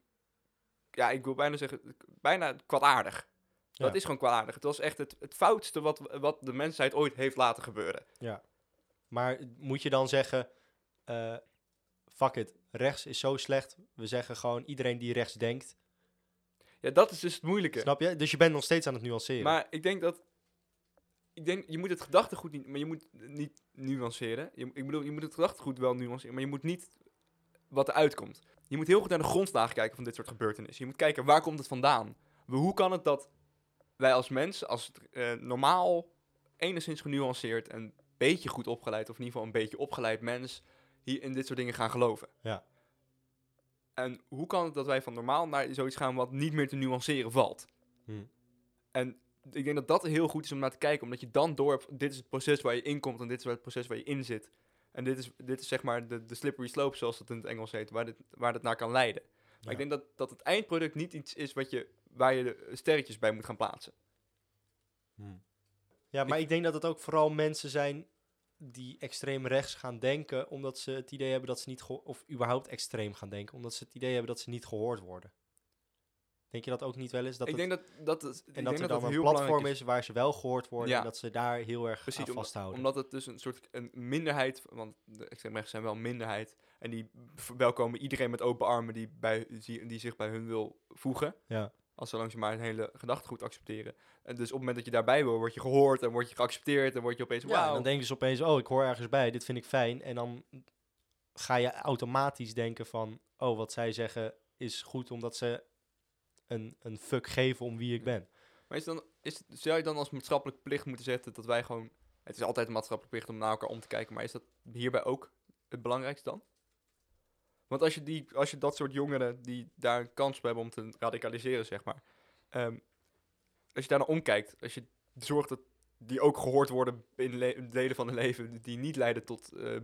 A: Ja, ik wil bijna zeggen. Bijna kwaadaardig. Dat
B: Ja.
A: is gewoon kwaadaardig. Het was echt het, het foutste wat, wat de mensheid ooit heeft laten gebeuren.
B: Maar moet je dan zeggen, eh, fuck it, rechts is zo slecht. We zeggen gewoon iedereen die rechts denkt.
A: Ja, dat is dus het moeilijke.
B: Snap je? Dus je bent nog steeds aan het nuanceren.
A: Maar ik denk dat. Ik denk, je moet het gedachtegoed niet. Maar je moet niet nuanceren. Je, ik bedoel, je moet het gedachtegoed wel nuanceren. Maar je moet niet wat eruit komt. Je moet heel goed naar de grondslagen kijken van dit soort gebeurtenissen. Je moet kijken waar komt het vandaan. Hoe kan het dat wij als mensen, als eh, normaal, enigszins genuanceerd en een beetje goed opgeleid, of in ieder geval een beetje opgeleid mens, hier in dit soort dingen gaan geloven?
B: Ja.
A: En hoe kan het dat wij van normaal naar zoiets gaan wat niet meer te nuanceren valt?
B: Hmm.
A: En ik denk dat dat heel goed is om naar te kijken, omdat je dan door hebt, dit is het proces waar je in komt en dit is het proces waar je in zit. En dit is, dit is zeg maar de, de slippery slope, zoals dat in het Engels heet, waar, dit, waar dat naar kan leiden. Maar
B: Ja.
A: ik denk dat, dat het eindproduct niet iets is wat je, waar je de sterretjes bij moet gaan plaatsen.
B: ja, maar ik, denk dat het ook vooral mensen zijn die extreem rechts gaan denken, omdat ze het idee hebben dat ze niet, geho- of überhaupt extreem gaan denken, omdat ze het idee hebben dat ze niet gehoord worden. Denk je dat ook niet wel eens? Dat
A: ik
B: het-
A: denk dat dat, het, ik
B: en
A: denk
B: dat er
A: dat
B: dan
A: het
B: een
A: heel
B: platform
A: belangrijk
B: is waar ze wel gehoord worden
A: Ja.
B: en dat ze daar heel erg
A: Precies,
B: aan
A: omdat-
B: vasthouden.
A: Omdat het dus een soort een minderheid, want de extreemrechten zijn wel een minderheid. En die verwelkomen iedereen met open armen die, bij, die, die zich bij hun wil voegen.
B: Ja.
A: Als zolang ze maar hun hele gedachtegoed accepteren. En dus op het moment dat je daarbij wil, word je gehoord en word je geaccepteerd en word je opeens
B: Ja, en
A: wauw.
B: dan denken ze opeens, oh, ik hoor ergens bij, dit vind ik fijn. En dan ga je automatisch denken van, oh, wat zij zeggen is goed omdat ze een, een fuck geven om
A: Mm.
B: wie ik ben.
A: Maar is dan, is, zou je dan als maatschappelijke plicht moeten zetten dat wij gewoon... Het is altijd een maatschappelijke plicht om naar elkaar om te kijken, maar is dat hierbij ook het belangrijkste dan? Want als je, die, als je dat soort jongeren die daar een kans op hebben om te radicaliseren, zeg maar. ehm, als je daar naar omkijkt, als je zorgt dat die ook gehoord worden in le- in delen van hun leven die niet leiden tot eh,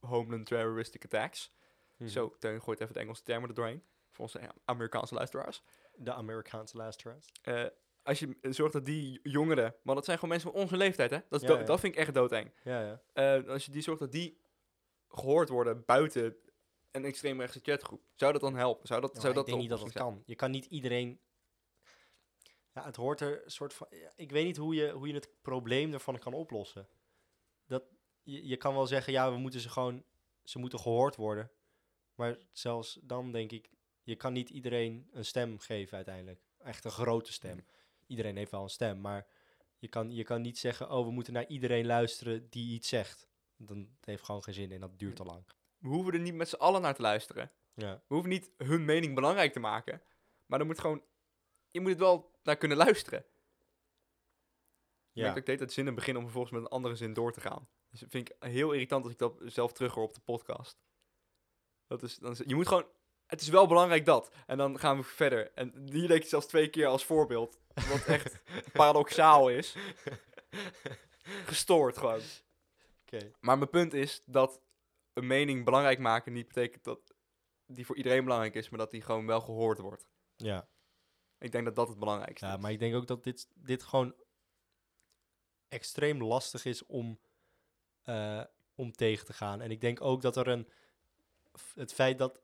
A: homeland terroristic attacks.
B: Mhm.
A: Zo, Teun gooit even de Engelse termen er doorheen. Voor onze eh, Amerikaanse luisteraars.
B: De Amerikaanse luisteraars.
A: Eh, als je eh, zorgt dat die jongeren, want dat zijn gewoon mensen van onze leeftijd, hè? Dat, is
B: Ja,
A: do-
B: ja.
A: dat vind ik echt doodeng.
B: Ja, ja.
A: Eh, als je die zorgt dat die gehoord worden buiten een extreemrechtse chatgroep, zou dat dan helpen? Zou dat,
B: Ja,
A: zou
B: maar
A: dat
B: Nou, ik denk
A: de
B: niet dat dat
A: oplossing
B: kan. Je kan niet iedereen... Ja, het hoort er een soort van... ja, Ik weet niet hoe je, hoe je het probleem ervan kan oplossen. Dat, je, je kan wel zeggen, ja, we moeten ze gewoon... Ze moeten gehoord worden. Maar zelfs dan denk ik... Je kan niet iedereen een stem geven uiteindelijk. Echt een grote stem. Iedereen heeft wel een stem, maar... Je kan, je kan niet zeggen, oh, we moeten naar iedereen luisteren die iets zegt. Dan het heeft gewoon geen zin en dat duurt te lang.
A: zijn? We hoeven er niet met z'n allen naar te luisteren.
B: Ja.
A: We hoeven niet hun mening belangrijk te maken. Maar dan moet gewoon, je moet het wel naar kunnen luisteren. Ik merk
B: Ja.
A: dat ik deed dat zinnen beginnen om vervolgens met een andere zin door te gaan. Dus dat vind ik heel irritant als ik dat zelf terughoor op de podcast. Dat is, dan is, je moet gewoon, het is wel belangrijk dat. En dan gaan we verder. En hier leek het zelfs twee keer als voorbeeld. Wat echt paradoxaal is. Gestoord gewoon.
B: Oké.
A: Maar mijn punt is dat een mening belangrijk maken niet betekent dat die voor iedereen belangrijk is, maar dat die gewoon wel gehoord wordt.
B: Ja.
A: Ik denk dat dat het belangrijkste
B: Ja,
A: is.
B: maar ik denk ook dat dit, dit gewoon extreem lastig is om, eh, om tegen te gaan. En ik denk ook dat er een. f- Het feit dat,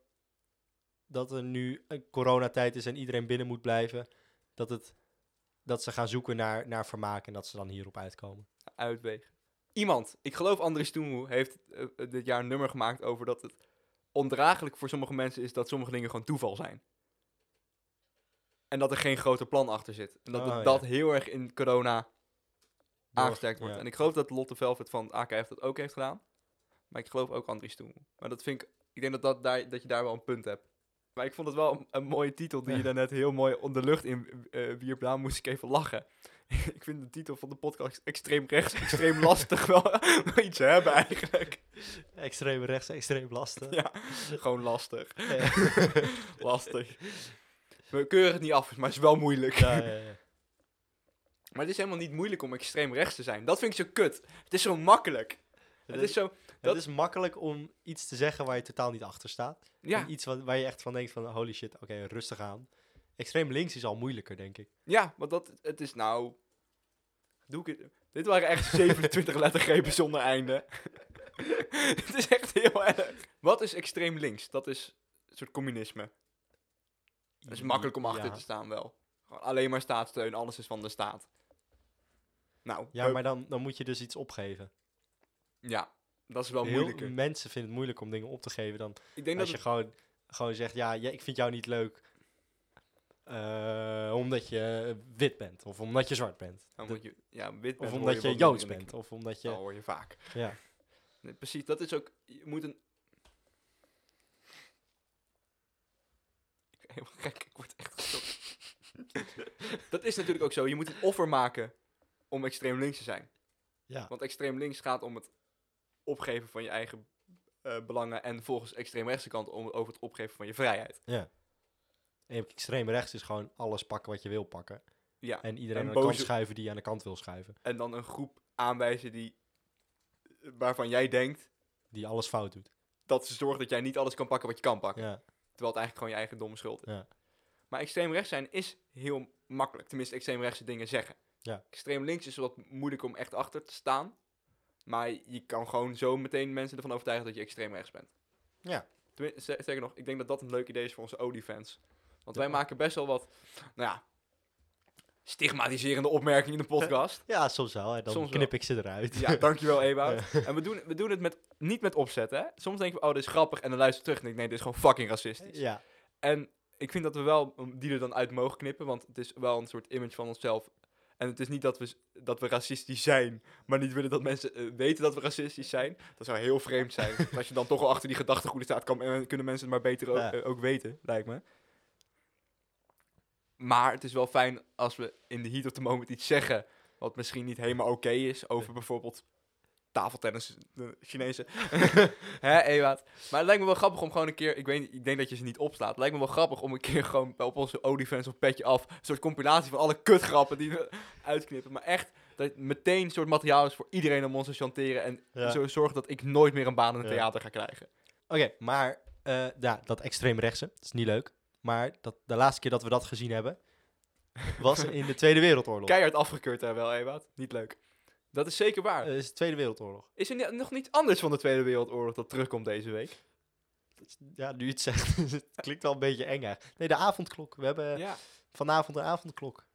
B: dat er nu een coronatijd is en iedereen binnen moet blijven, dat, het, dat ze gaan zoeken naar, naar vermaak en dat ze dan hierop uitkomen.
A: uitwegen. Iemand, ik geloof Andries Toemoe, heeft eh, eh, dit jaar een nummer gemaakt over dat het ondraaglijk voor sommige mensen is dat sommige dingen gewoon toeval zijn. En dat er geen groter plan achter zit. En dat
B: Oh,
A: het-
B: ja.
A: dat heel erg in corona aangesterkt
B: Door-
A: wordt.
B: ja.
A: En ik geloof dat Lotte Velvet van AKF dat ook heeft gedaan. Maar ik geloof ook Andries Toemoe. Maar dat vind ik, ik denk dat, dat, daar, dat je daar wel een punt hebt. Maar ik vond het wel een, een mooie titel die je
B: Ja.
A: daarnet heel mooi onder de lucht in eh wierp. Daar moest ik even lachen. ik vind de titel van de podcast extreem rechts, extreem lastig wel wel iets hebben eigenlijk.
B: Extreem rechts, extreem lastig.
A: Ja, gewoon lastig.
B: Ja.
A: lastig. We keuren het niet af, maar het is wel moeilijk.
B: Ja, ja, ja.
A: Maar het is helemaal niet moeilijk om extreem rechts te zijn. Dat vind ik zo kut. Het is zo makkelijk. Het is zo... dat-
B: het is makkelijk om iets te zeggen waar je totaal niet achter staat.
A: Ja,
B: En Iets wat, waar je echt van denkt van holy shit, oké, rustig aan. Extreem links is al moeilijker, denk ik.
A: ja, want dat... Het is nou... Doe ik het... Dit waren echt 27 lettergrepen zonder einde. het is echt heel erg. Wat is extreem links? Dat is een soort communisme. Het is makkelijk om achter
B: ja.
A: te staan wel. Gewoon alleen maar staatssteun, alles is van de staat. Nou,
B: Ja,
A: hup.
B: maar dan, dan moet je dus iets opgeven.
A: ja, dat is wel
B: Heel-
A: moeilijker.
B: Mensen vinden het moeilijk om dingen op te geven dan
A: Ik denk dat
B: als je
A: het-
B: gewoon, gewoon zegt, ja, ja, ik vind jou niet leuk eh, omdat je wit bent of omdat je zwart bent.
A: omdat je, ja, wit bent,
B: Of
A: hoor
B: omdat je
A: wat
B: Joods
A: minder.
B: bent. Of omdat
A: Dat
B: je...
A: hoor je vaak.
B: Ja.
A: Nee, precies, dat is ook, je moet een... Ik ben helemaal gek, ik word echt gestopt. dat is natuurlijk ook zo, je moet een offer maken om extreem links te zijn.
B: Ja.
A: Want extreem links gaat om het opgeven van je eigen eh, belangen. En volgens extreem rechtse kant om, over het opgeven van je vrijheid.
B: En extreem rechts is gewoon alles pakken wat je wil pakken.
A: Ja.
B: En iedereen
A: En
B: aan de kant
A: boze-
B: schuiven die je aan de kant wil schuiven.
A: En dan een groep aanwijzen die, waarvan jij denkt
B: Die alles fout doet.
A: dat ze zorgen dat jij niet alles kan pakken wat je kan pakken.
B: Ja.
A: Terwijl het eigenlijk gewoon je eigen domme schuld is.
B: Ja.
A: Maar extreem rechts zijn is heel makkelijk. Tenminste, extreem rechtse dingen zeggen.
B: Ja.
A: Extreem links is wat moeilijk om echt achter te staan. Maar je kan gewoon zo meteen mensen ervan overtuigen dat je extreem rechts bent.
B: Ja.
A: Tenmin- ze- Zeker nog, ik denk dat dat een leuk idee is voor onze OD-fans. Want
B: Ja.
A: wij maken best wel wat, nou ja, stigmatiserende opmerkingen in de podcast.
B: ja, soms wel. En dan
A: Soms wel.
B: knip ik ze eruit.
A: ja, dankjewel Ewout. En we doen, we doen het met, niet met opzet, hè. Soms denken we, oh, dit is grappig. En dan luister je terug en denk ik, nee, dit is gewoon fucking racistisch.
B: ja.
A: En ik vind dat we wel um, die er dan uit mogen knippen, want het is wel een soort image van onszelf. En het is niet dat we, s- dat we racistisch zijn, maar niet willen dat mensen eh, weten dat we racistisch zijn. Dat zou heel vreemd zijn. Want als je dan toch al achter die gedachtegoeden staat, kan, eh, kunnen mensen het maar beter ook,
B: Ja.
A: eh, ook weten, lijkt me. Maar het is wel fijn als we in de heat of the moment iets zeggen wat misschien niet helemaal oké is over bijvoorbeeld tafeltennis, de Chinezen. Hè, Ewout? Maar het lijkt me wel grappig om gewoon een keer, ik, weet, niet- ik denk dat je ze niet opslaat. Het lijkt me wel grappig om een keer gewoon op onze OnlyFans of Petje Af, een soort compilatie van alle kutgrappen die we uitknippen. Maar echt, dat het meteen een soort materiaal is voor iedereen om ons te chanteren en
B: Ja.
A: zo zorgen dat ik nooit meer een baan in het
B: Ja.
A: theater ga krijgen.
B: Oké, maar eh, ja, dat extreemrechtse, dat is niet leuk. Maar dat, de laatste keer dat we dat gezien hebben, was in de Tweede Wereldoorlog.
A: Keihard afgekeurd daar wel, Ewout. Niet leuk. Dat is zeker waar.
B: Eh, is de Tweede Wereldoorlog.
A: Is er ni- nog niets anders van de Tweede Wereldoorlog dat terugkomt deze week?
B: Dat is- Ja, nu je het zegt, het klinkt wel een beetje eng eigenlijk. Nee, de avondklok. We hebben
A: ja.
B: vanavond een avondklok.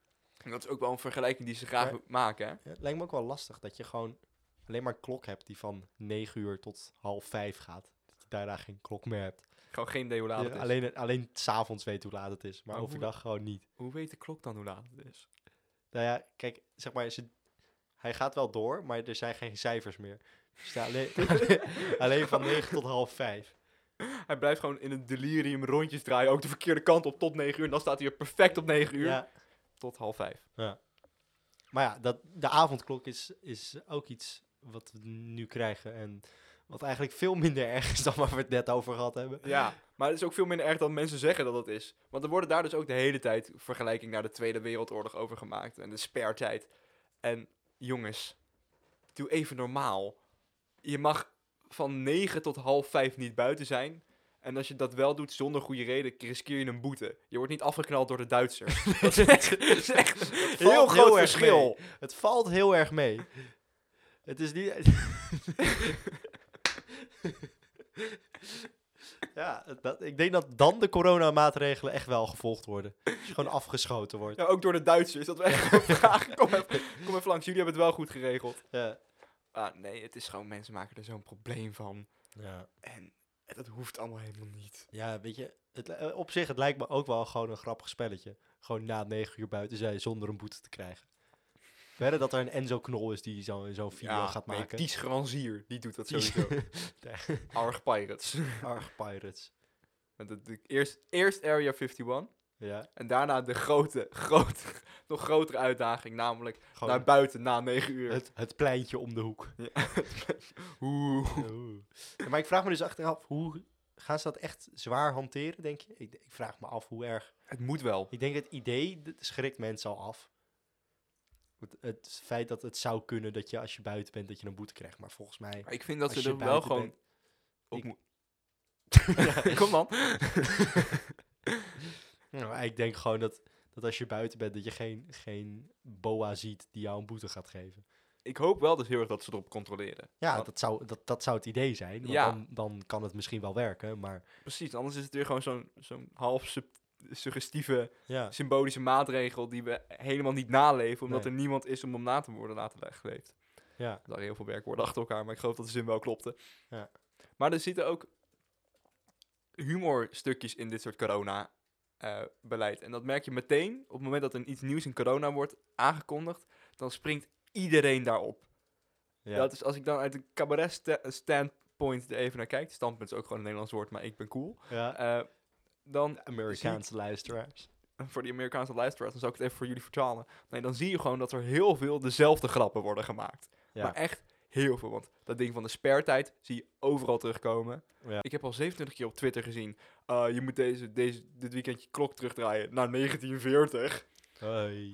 A: En dat is ook wel een vergelijking die ze graag
B: Ja.
A: maken, hè?
B: Ja, het lijkt me ook wel lastig dat je gewoon alleen maar een klok hebt die van 9 uur tot half 5 gaat. Dat je daarna geen klok meer hebt.
A: Gewoon geen idee hoe laat
B: Je
A: het is.
B: alleen alleen s'avonds weet hoe laat het is, maar
A: Maar hoe-
B: overdag gewoon niet.
A: Hoe weet de klok dan hoe laat het is?
B: Nou ja, kijk, zeg maar, ze- hij gaat wel door, maar er zijn geen cijfers meer. Dus ja, alleen, alleen van 9 tot half 5.
A: Hij blijft gewoon in een delirium rondjes draaien, ook de verkeerde kant op tot 9 uur. En dan staat hij er perfect op 9 uur.
B: Ja,
A: Tot half 5.
B: maar ja, dat, de avondklok is, is ook iets wat we nu krijgen. En wat eigenlijk veel minder erg is dan waar we het net over gehad hebben.
A: Ja, maar het is ook veel minder erg dan mensen zeggen dat het is. Want er worden daar dus ook de hele tijd vergelijking naar de Tweede Wereldoorlog over gemaakt. En de spertijd. En jongens, doe even normaal. Je mag van 9 tot half 5 niet buiten zijn. En als je dat wel doet zonder goede reden, riskeer je een boete. Je wordt niet afgeknald door de Duitsers. dat is echt, dat is echt een
B: valt
A: heel groot
B: heel erg
A: verschil.
B: Het valt heel erg mee. Het is niet. ja, dat, ik denk dat dan de coronamaatregelen echt wel gevolgd worden. Als je gewoon afgeschoten wordt.
A: Ja, ook door de Duitsers. Dat we echt gewoon vragen, kom even, kom even langs. Jullie hebben het wel goed geregeld.
B: Ja.
A: Ah, nee, het is gewoon, mensen maken er zo'n probleem van.
B: Ja.
A: En dat hoeft allemaal helemaal niet.
B: ja, weet je, het, li- eh, op zich, het lijkt me ook wel gewoon een grappig spelletje. Gewoon na negen uur buiten zijn zonder een boete te krijgen. Verder dat er een Enzo Knol is die zo'n zo'n video gaat
A: nee,
B: maken.
A: Ties Granzier, die doet dat
B: Ties-
A: sowieso.
B: Ja.
A: Arg Pirates.
B: Arg Pirates.
A: Met de, de- eerst, eerst Area 51
B: Ja,
A: en daarna de grote, grote, nog grotere uitdaging, namelijk
B: gewoon
A: naar buiten na 9 uur.
B: het, het pleintje om de hoek.
A: Oeh.
B: Oeh. Ja, maar ik vraag me dus achteraf, hoe gaan ze dat echt zwaar hanteren, denk je? Ik, ik vraag me af hoe erg.
A: Het moet wel.
B: Ik denk het idee dat schrikt mensen al af. Het, het feit dat het zou kunnen dat je als je buiten bent, dat je een boete krijgt. Maar volgens mij...
A: Maar ik vind dat
B: als
A: ze
B: je
A: er wel
B: buiten
A: gewoon
B: bent-
A: op
B: ik-
A: moeten... Kom dan.
B: Ja, maar Nou, ik denk gewoon dat, dat als je buiten bent, dat je geen, geen boa ziet die jou een boete gaat geven.
A: Ik hoop wel dus heel erg dat ze erop controleren.
B: Ja,
A: Want-
B: dat zou, dat, dat zou het idee zijn. Want
A: Ja.
B: dan, dan kan het misschien wel werken, maar...
A: Precies, anders is het weer gewoon zo'n zo'n half sub- suggestieve,
B: Ja,
A: symbolische maatregel die we helemaal niet naleven, omdat
B: Nee.
A: er niemand is om hem na te worden laten geleefd.
B: ja.
A: Er waren heel veel werkwoorden achter elkaar, maar ik geloof dat de zin wel klopte.
B: Ja.
A: Maar er zitten ook humorstukjes in dit soort corona-beleid. en dat merk je meteen op het moment dat er iets nieuws in corona wordt aangekondigd, dan springt iedereen daarop.
B: ja.
A: Dat is als ik dan uit een cabaret sta- standpoint er even naar kijk. Standpunt is ook gewoon een Nederlands woord, maar ik ben cool.
B: ja.
A: Eh, dan
B: Amerikaanse luisteraars.
A: voor die Amerikaanse luisteraars, dan zou ik het even voor jullie vertalen. Nee, dan zie je gewoon dat er heel veel dezelfde grappen worden gemaakt.
B: Ja.
A: Maar echt heel veel, want dat ding van de spertijd zie je overal terugkomen.
B: Ja.
A: Ik heb al 27 keer op Twitter gezien, eh, je moet deze, deze, dit weekend je klok terugdraaien naar 1940.
B: Hoi.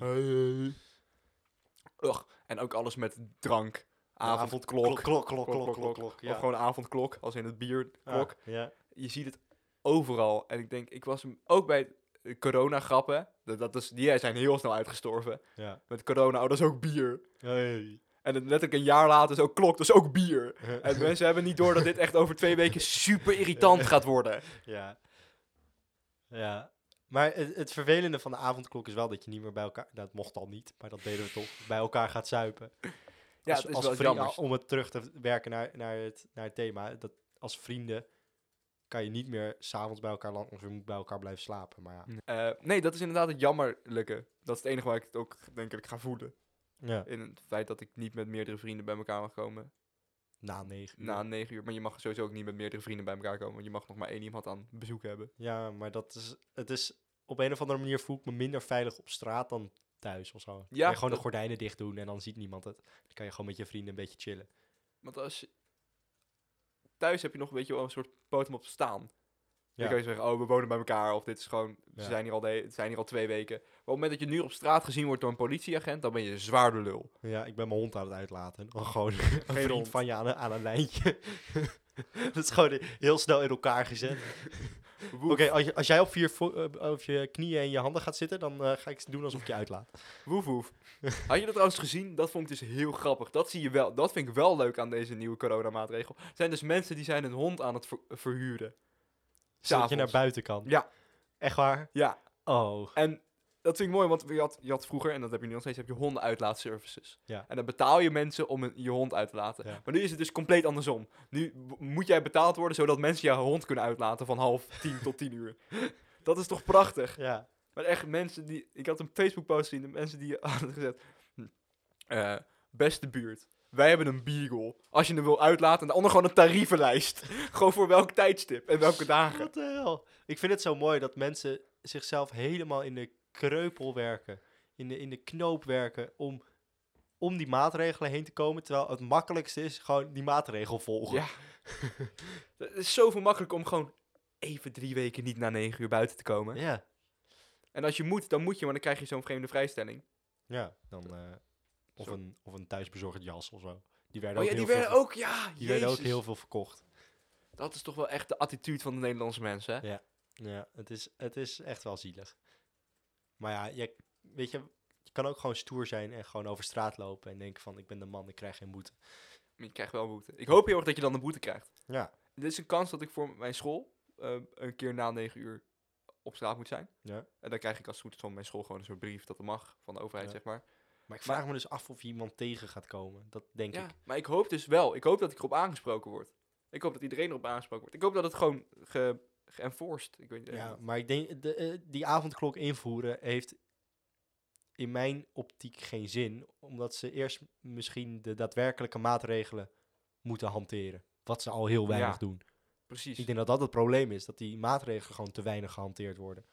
A: Ugh, en ook alles met drank, avondklok,
B: Klok, klok, klok, klok, klok, klok. ja.
A: of gewoon avondklok, als in het bierklok.
B: Ja, Ah, ja.
A: je ziet het overal. En ik denk, ik was hem ook bij eh, corona-grappen. Dat, dat is, die zijn heel snel uitgestorven.
B: ja.
A: Met corona, oh, dat is ook bier.
B: Hoi.
A: En het letterlijk een jaar later is ook klok, dat is ook bier.
B: Eh,
A: En mensen hebben niet door dat dit echt over twee weken super irritant gaat worden.
B: ja. Ja. Maar het, het vervelende van de avondklok is wel dat je niet meer bij elkaar... Dat mocht al niet, maar dat deden we toch. Bij elkaar gaat zuipen.
A: Ja,
B: als,
A: het is
B: als
A: wel
B: vrienden-
A: jammer.
B: Om het terug te werken naar, naar, het, naar het thema. Dat als vrienden kan je niet meer s'avonds bij elkaar landen. Of je moet bij elkaar blijven slapen. Maar ja.
A: Eh, nee, dat is inderdaad het jammerlijke. Dat is het enige waar ik het ook denk ik ga voelen.
B: ja.
A: In het feit dat ik niet met meerdere vrienden bij elkaar mag komen
B: Na negen uur.
A: na negen uur. Maar je mag sowieso ook niet met meerdere vrienden bij elkaar komen. Want je mag nog maar één iemand aan bezoek hebben.
B: Ja, maar dat is... Het is... Op een of andere manier voel ik me minder veilig op straat dan thuis of zo.
A: Ja,
B: Ja, gewoon de
A: dat-
B: gordijnen dicht doen en dan ziet niemand het. Dan kan je gewoon met je vrienden een beetje chillen.
A: Want als je... Thuis heb je nog een beetje wel een soort potem op staan.
B: Ja.
A: Dan kan je zeggen, oh, we wonen bij elkaar. Of dit is gewoon, ze
B: Ja.
A: zijn hier al, de, ze zijn hier al twee weken. Maar op het moment dat je nu op straat gezien wordt door een politieagent, dan ben je zwaar de lul.
B: Ja, ik ben mijn hond aan het uitlaten. Oh, gewoon een vriend
A: hond.
B: van je aan een, aan een lijntje. dat is gewoon heel snel in elkaar gezet. Oké, als, je- als jij op, vier vo- eh, op je knieën en je handen gaat zitten, dan eh, ga ik doen alsof ik je uitlaat.
A: Woef woef. Had je dat trouwens gezien? Dat vond ik dus heel grappig. Dat zie je wel. Dat vind ik wel leuk aan deze nieuwe coronamaatregel. Er zijn dus mensen die zijn een hond aan het ver- verhuren.
B: Zodat je
A: S'avonds.
B: naar buiten kan.
A: Ja.
B: Echt waar?
A: Ja.
B: Oh.
A: En dat vind ik mooi, want je had, je had vroeger, en dat heb je nu nog steeds, heb je hondenuitlaatservices.
B: Ja.
A: En dan betaal je mensen om een- je hond uit te laten.
B: Ja.
A: Maar nu is het dus compleet andersom. Nu b- moet jij betaald worden zodat mensen jouw hond kunnen uitlaten van half tien tot tien uur. Dat is toch prachtig?
B: Ja.
A: Maar echt, mensen die... Ik had een Facebook-post gezien. De mensen die hadden gezet... hm, eh, beste buurt. Wij hebben een beagle. Als je hem wil uitlaten. En de ander gewoon een tarievenlijst. gewoon voor welk tijdstip en welke dagen.
B: Wat de hel? Ik vind het zo mooi dat mensen zichzelf helemaal in de kreupel werken. In de, in de knoop werken om, om die maatregelen heen te komen. Terwijl het makkelijkste is gewoon die maatregel volgen.
A: Ja. Het is zoveel makkelijker om gewoon even drie weken niet na negen uur buiten te komen.
B: Ja.
A: En als je moet, dan moet je. Maar dan krijg je zo'n vreemde vrijstelling.
B: Ja, dan, eh, of,
A: Zo.
B: een, of een thuisbezorgd jas of zo. Die werden,
A: Oh
B: ook,
A: ja, die
B: heel
A: werden
B: veel,
A: ook... Ja,
B: die werden ook
A: jezus.
B: heel veel verkocht.
A: Dat is toch wel echt de attitude van de Nederlandse mensen, hè?
B: Ja, het is, het is echt wel zielig. Maar ja, je, weet je, je kan ook gewoon stoer zijn en gewoon over straat lopen en denken van ik ben de man, ik krijg geen boete.
A: Maar je krijgt wel een boete. Ik hoop heel erg dat je dan een boete krijgt.
B: Ja,
A: Er is een kans dat ik voor mijn school eh, een keer na 9 uur op straat moet zijn.
B: Ja.
A: En dan krijg ik als het goed is van mijn school gewoon een soort brief dat dat mag van de overheid,
B: Ja.
A: zeg maar.
B: maar ik vraag me dus af of je iemand tegen gaat komen. Dat denk
A: ja,
B: ik.
A: maar ik hoop dus wel. Ik hoop dat ik erop aangesproken word. Ik hoop dat iedereen erop aangesproken wordt. Ik hoop dat het gewoon ge geënforced. Ik weet niet.
B: Ja, maar ik denk, de, eh, die avondklok invoeren heeft in mijn optiek geen zin, omdat ze eerst misschien de daadwerkelijke maatregelen moeten hanteren. Wat ze al heel weinig
A: Ja.
B: doen.
A: precies.
B: Ik denk dat dat het probleem is, dat die maatregelen gewoon te weinig gehanteerd worden.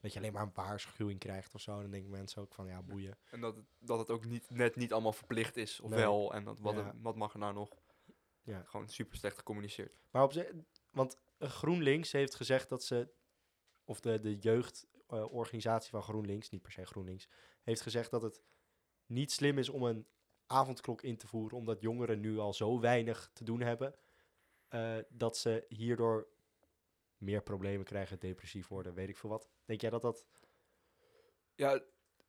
B: Dat je alleen maar een waarschuwing krijgt of zo. En dan denken mensen ook van, ja, boeien.
A: En dat het, dat het ook niet, net niet allemaal verplicht is. Of
B: Nee.
A: wel. En dat, wat,
B: Ja.
A: er- wat mag er nou nog?
B: Ja.
A: Gewoon super slecht gecommuniceerd.
B: Maar op zich, want eh, GroenLinks heeft gezegd dat ze, of de, de jeugdorganisatie van GroenLinks, niet per se GroenLinks, heeft gezegd dat het niet slim is om een avondklok in te voeren, omdat jongeren nu al zo weinig te doen hebben, eh, dat ze hierdoor meer problemen krijgen, depressief worden, weet ik veel wat. Denk jij dat dat...
A: Ja,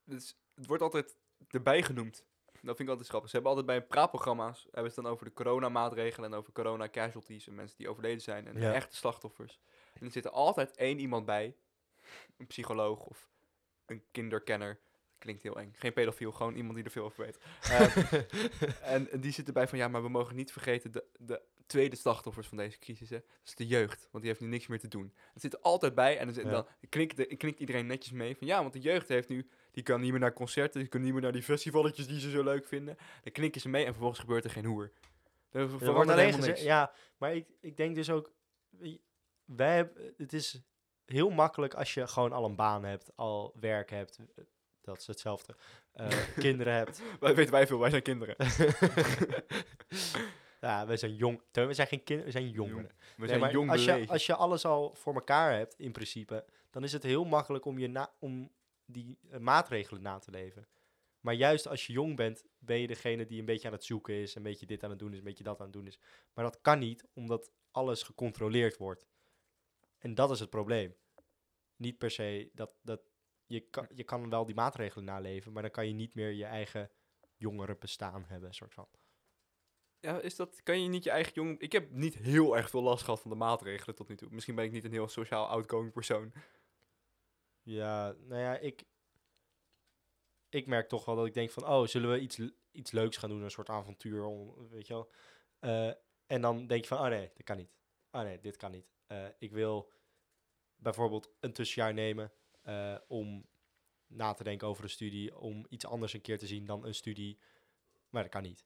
A: dus het wordt altijd erbij genoemd. Dat vind ik altijd grappig. Ze hebben altijd bij praatprogramma's, hebben ze het dan over de coronamaatregelen en over corona casualties en mensen die overleden zijn en
B: Ja.
A: de echte slachtoffers. En er zit er altijd één iemand bij, een psycholoog of een kinderkenner. Klinkt heel eng. Geen pedofiel, gewoon iemand die er veel over weet. Eh, en en die zit erbij van, ja, maar we mogen niet vergeten de, de tweede slachtoffers van deze crisis, hè. Dat is de jeugd, want die heeft nu niks meer te doen. Het zit er altijd bij en dan, zit-
B: Ja.
A: dan klinkt, de, klinkt iedereen netjes mee van, ja, want de jeugd heeft nu die kan niet meer naar concerten, die kan niet meer naar die festivaletjes die ze zo leuk vinden. Dan knikken ze mee en vervolgens gebeurt er geen hoer. Dan
B: Er wordt
A: verandert
B: alleen
A: helemaal
B: gezegd-
A: niks.
B: Ja, maar ik, ik denk dus ook... wij- Wij hebben, het is heel makkelijk als je gewoon al een baan hebt, al werk hebt. eh, Dat is hetzelfde. eh, kinderen hebt.
A: Wij weten wij veel, wij zijn kinderen.
B: ja, wij zijn jong. Teun, We zijn geen kinderen, we zijn jongeren.
A: Jong. We
B: Nee,
A: zijn
B: maar
A: jong
B: als je,
A: beleefd.
B: als je alles al voor elkaar hebt, in principe, dan is het heel makkelijk om, je na, om die eh, maatregelen na te leven. Maar juist als je jong bent, ben je degene die een beetje aan het zoeken is, een beetje dit aan het doen is, een beetje dat aan het doen is. Maar dat kan niet, omdat alles gecontroleerd wordt. En dat is het probleem. Niet per se dat, dat je, kan, je kan wel die maatregelen naleven, maar dan kan je niet meer je eigen jongeren bestaan hebben, soort van.
A: Ja, is dat, kan je niet je eigen jong... Ik heb niet heel erg veel last gehad van de maatregelen tot nu toe. Misschien ben ik niet een heel sociaal outgoing persoon.
B: Ja, nou ja, ik, ik merk toch wel dat ik denk van, oh, zullen we iets, l- iets leuks gaan doen, een soort avontuur, om, weet je wel. Eh, en dan denk je van, oh nee, dat kan niet. Oh nee, dit kan niet. Eh, ik wil bijvoorbeeld een tussenjaar nemen eh, om na te denken over een studie, om iets anders een keer te zien dan een studie, maar dat kan niet.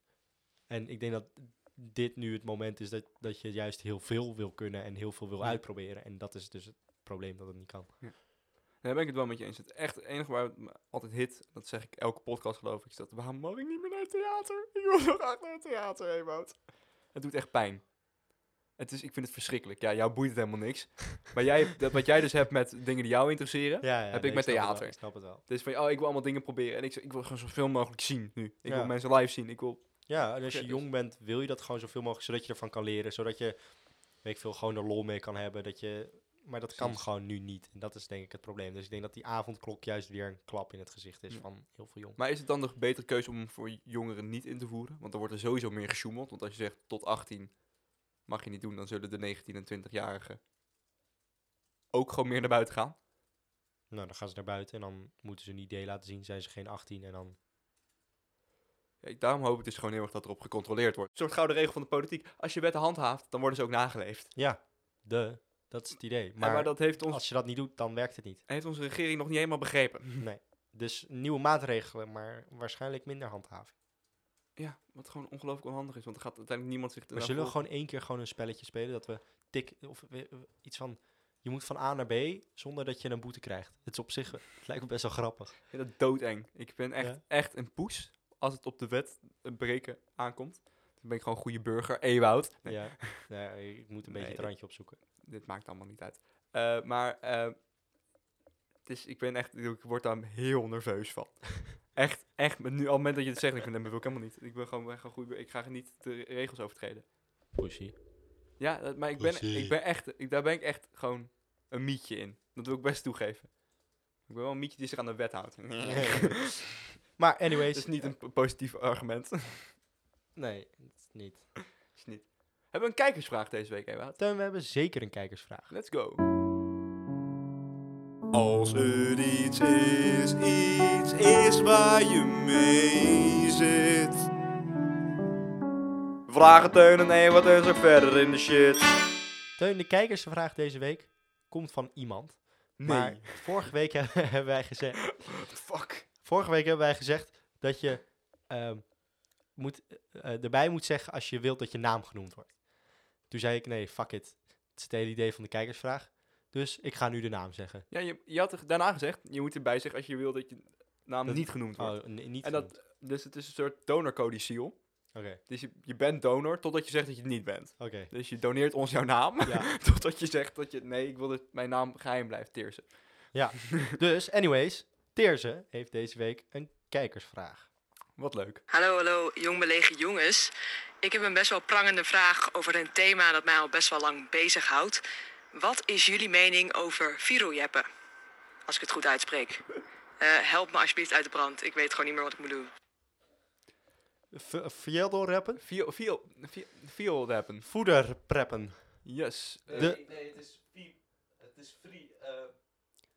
B: En ik denk dat dit nu het moment is dat, dat je juist heel veel wil kunnen en heel veel wil
A: Ja.
B: uitproberen. En dat is dus het probleem dat het niet kan.
A: Daar ben ik het wel met je eens. Het echt enige waar het me altijd hit, dat zeg ik elke podcast geloof ik, is dat waarom mag ik niet meer naar het theater. Ik wil zo graag naar het theater, heen, Wout. Het doet echt pijn. Het is, ik vind het verschrikkelijk. Ja, jou boeit het helemaal niks. Maar jij, dat, wat jij dus hebt met dingen die jou interesseren.
B: Ja, ja,
A: Heb ik
B: nee,
A: met
B: snap het wel,
A: theater.
B: Ik snap het wel.
A: Dus van, oh, ik wil allemaal dingen proberen. En ik, zeg, ik wil gewoon zoveel mogelijk zien nu. Ik
B: Ja.
A: wil mensen live zien. Ik wil...
B: Ja, en als je
A: Oké, dus
B: jong bent, wil je dat gewoon zoveel mogelijk, zodat je ervan kan leren. Zodat je, weet ik veel, gewoon er lol mee kan hebben. Dat je, maar dat kan
A: Precies.
B: gewoon nu niet. En dat is denk ik het probleem. Dus ik denk dat die avondklok juist weer een klap in het gezicht is
A: Ja.
B: van heel veel jong.
A: Maar is het dan de betere keuze om hem voor jongeren niet in te voeren? Want dan wordt er sowieso meer gesjoemeld. Want als je zegt tot 18 mag je niet doen, dan zullen de 19 en 20-jarigen ook gewoon meer naar buiten gaan.
B: Nou, dan gaan ze naar buiten en dan moeten ze een idee laten zien. Zijn ze geen 18 en dan...
A: Ja, ik- daarom hoop ik dus gewoon heel erg dat erop gecontroleerd wordt. Een soort gouden regel van de politiek. Als je wetten handhaaft, dan worden ze ook nageleefd.
B: Ja, de, dat is het idee.
A: Maar,
B: Maar,
A: maar dat heeft, ons,
B: als je dat niet doet, dan werkt het niet.
A: heeft onze regering nog niet helemaal begrepen.
B: Nee. Dus nieuwe maatregelen, maar waarschijnlijk minder handhaving.
A: Ja, wat gewoon ongelooflijk onhandig is. Want er gaat uiteindelijk niemand zich...
B: Maar zullen we gewoon één keer gewoon een spelletje spelen dat we tik of we- we- iets van je moet van A naar B zonder dat je een boete krijgt. Het is op zich het lijkt me best wel grappig.
A: Ik vind dat doodeng. Ik ben echt,
B: Ja.
A: echt een poes als het op de wet eh, breken aankomt. Dan ben ik gewoon een goede burger. Ewoud. Nee,
B: Ja. Nee, ik moet een beetje
A: Nee,
B: het
A: ik-
B: randje opzoeken.
A: Dit maakt allemaal niet uit. Eh, maar eh, het is, ik ben echt, ik word daar heel nerveus van. echt, echt. maar Nu, al het moment dat je het zegt, ik ben, dat wil ik helemaal niet. Ik ben gewoon echt een goede bur- Ik ga niet de regels overtreden.
B: Pussy.
A: Ja, dat- maar ik ben,
B: Pussy.
A: ik ben echt, ik, daar ben ik echt gewoon een mietje in. Dat wil ik best toegeven. Ik ben wel een mietje die zich aan de wet houdt.
B: Maar
A: Het
B: anyways, eh,
A: is niet een p- positief argument.
B: nee, het is niet.
A: Is niet. Hebben we een kijkersvraag deze week, Ewout?
B: Teun, we hebben zeker een kijkersvraag.
A: Let's go.
C: Als er iets is, iets is waar je mee zit.
A: Vragen Teun en nee, wat is er verder in de shit?
B: Teun, de kijkersvraag deze week komt van iemand. Maar vorige week hebben wij gezegd
A: fuck.
B: Vorige week hebben wij gezegd dat je ehm, moet, eh, erbij moet zeggen als je wilt dat je naam genoemd wordt. Toen zei ik, nee, fuck it. Het is het hele idee van de kijkersvraag. Dus ik ga nu de naam zeggen.
A: Ja, je, je had er daarna gezegd, je moet erbij zeggen als je wil dat je naam
B: Dat-
A: niet genoemd wordt.
B: Oh, nee, niet
A: en
B: genoemd.
A: dat, dus het is een soort donorcodiciel.
B: Oké,
A: Dus je, je bent donor totdat je zegt dat je het niet bent.
B: oké.
A: Dus je doneert ons jouw naam
B: Ja.
A: totdat je zegt dat je, nee, ik wil dat mijn naam geheim blijft, Teersen.
B: dus, anyways. Teerse heeft deze week een kijkersvraag.
A: Wat leuk.
D: Hallo, hallo, jong belegen jongens. Ik heb een best wel prangende vraag over een thema dat mij al best wel lang bezighoudt. Wat is jullie mening over virojeppen? Als ik het goed uitspreek. Eh, help me alsjeblieft uit de brand. Ik weet gewoon niet meer wat ik moet doen.
B: V- eh, Fjelldoor rappen?
A: Viel, viel, viel, viel rappen.
B: Voeder preppen.
A: Yes. Eh,
B: De-
E: nee, het is free. Het is free. eh,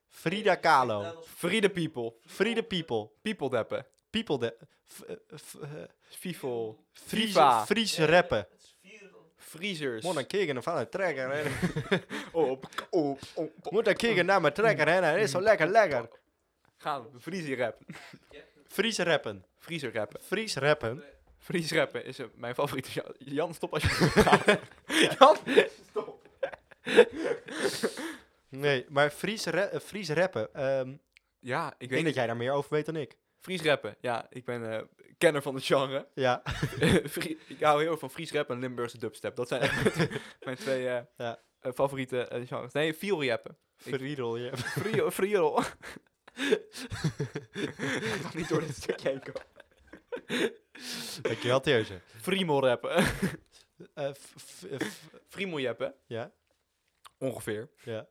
B: Frida Kahlo.
A: Friede people.
B: Frida People.
A: People dappen.
B: People de... v- eh, v- eh,
A: Fifel.
B: Fries,
A: Viva.
B: Fries rappen.
E: Het is vier.
A: Vriezers.
B: Moet een keer ervan uit trekken. hè.
A: Op, op, op, op.
B: Moet een keer naar me trekken, hè? Dat is zo lekker, lekker.
A: Gaan. Vriezer rappen.
B: Fries rappen.
A: Vriezer rappen.
B: Fries rappen.
A: Fries rappen is eh, mijn favoriete genre. Jan, stop als je... Jan, stop.
B: Nee, maar Fries, ra- eh, Fries rappen. ehm, ik
A: Ja, ik
B: denk
A: weet
B: dat
A: niet.
B: jij daar meer over weet dan ik.
A: Fries rappen. Ja, ik ben eh, kenner van het genre.
B: Ja,
A: Frie- ik hou heel erg van Fries rap en Limburgse dubstep. Dat zijn echt mijn- mijn twee eh,
B: Ja.
A: eh, favoriete eh, genres. Nee, viel rappen.
B: Friedel. Ja.
A: Frio, frio. ik ga niet door dit stukje heen komen.
B: Dankjewel, Teerse.
A: Friemel rappen.
B: Eh, f- f- eh, f-
A: Friemel rappen.
B: ja,
A: Ongeveer.
B: ja.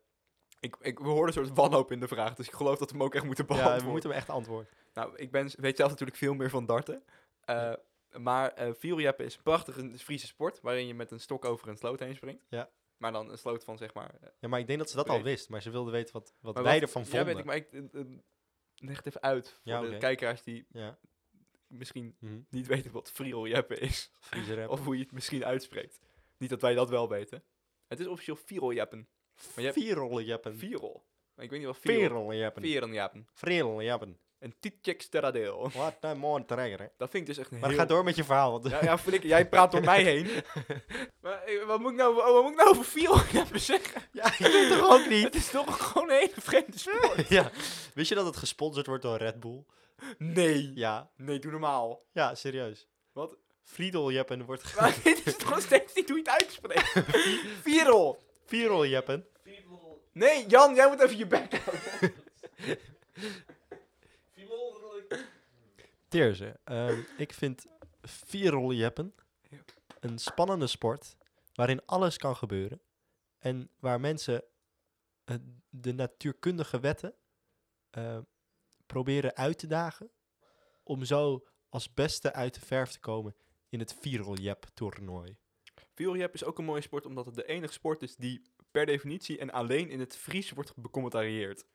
A: Ik, ik, we hoorden een soort wanhoop in de vraag, dus ik geloof dat we hem ook echt moeten
B: ja,
A: beantwoorden.
B: we moeten hem echt antwoorden.
A: Nou, ik ben, weet zelf natuurlijk veel meer van darten. Eh, Maar eh vieljeppen is een prachtige Friese sport, waarin je met een stok over een sloot heen springt.
B: Ja.
A: Maar dan een sloot van zeg maar... eh,
B: Ja, maar ik denk dat ze dat al
A: Oké.
B: wist, maar ze wilde weten wat, wat
A: maar
B: wij
A: wat-
B: ervan
A: Ja,
B: vonden.
A: weet ik, maar ik... eh, eh, leg het even uit voor
B: Ja,
A: de
B: oké.
A: kijkeraars die
B: Ja,
A: misschien
B: mhm.
A: niet weten wat vrieeljeppen is.
B: Fries rappen.
A: Of hoe je het misschien uitspreekt. Niet dat wij dat wel weten. Het is officieel vieroljeppen. maar je hebt-
B: Vierrollen jappen.
A: Vierol. Maar ik weet niet wat vierol...
B: Vierrollen jappen.
A: Vierenjappen.
B: Vierrollen jappen.
A: Een tietjek steradeel.
B: Wat een mooi trekker, hè.
A: Dat vind ik dus echt een
B: Maar
A: heel...
B: ga door met je verhaal, want
A: Ja, ja flikker, jij praat door mij heen. maar eh, wat moet ik nou, wat moet ik nou over vieroljeppen zeggen?
B: ja, ik weet toch ook niet.
A: Het is toch gewoon een hele vreemde sport.
B: Ja, wist je dat het gesponsord wordt door Red Bull?
A: Nee.
B: Ja,
A: Nee, doe normaal.
B: ja, serieus.
A: Wat?
B: Friedeljeppen wordt ge-
A: Maar dit is nog steeds niet hoe je het uitspreekt. Virel.
B: Vieroljeppen.
E: Fiebel.
A: Nee, Jan, jij moet even je bek houden.
E: Fiebel.
B: Teerze, ehm, ik vind vieroljeppen
A: Ja.
B: een spannende sport waarin alles kan gebeuren en waar mensen eh, de natuurkundige wetten eh, proberen uit te dagen om zo als beste uit de verf te komen in het vieroljep-toernooi.
A: Vieljep is ook een mooie sport omdat het de enige sport is die per definitie en alleen in het Fries wordt becommentarieerd.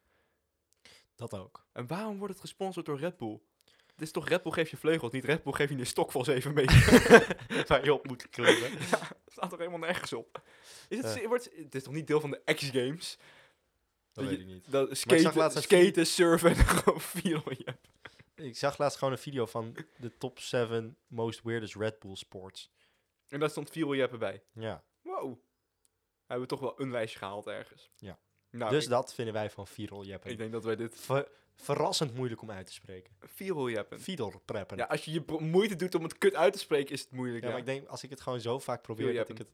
B: Dat ook.
A: En waarom wordt het gesponsord door Red Bull? Het is toch Red Bull geeft je vleugels, niet Red Bull geeft je een stok van 7 meter.
B: Waar je op moet klimmen.
A: Dat staat toch helemaal nergens op. Is het,
B: Ja.
A: se- wordt, het is toch niet deel van de X-Games?
B: Dat
A: je-
B: weet ik niet.
A: Dat
B: zag
A: skaten,
B: laatst een
A: skaten, surfen en gewoon vieljep.
B: Ik zag laatst gewoon een video van de top 7 most weirdest Red Bull sports.
A: En daar stond vieljep bij.
B: Ja,
A: Wow. Hebben we toch wel een lijstje gehaald ergens.
B: Ja.
A: Nou,
B: dus
A: ik,
B: dat vinden wij van vieroljeppen.
A: ik denk dat wij dit
B: Ver- verrassend moeilijk om uit te spreken.
A: vieroljeppen.
B: Fiedelpreppen.
A: Ja,
B: Ja,
A: als je je pro- moeite doet om het kut uit te spreken, is het moeilijk. ja.
B: maar ik denk, als ik het gewoon zo vaak probeer, dat ik het...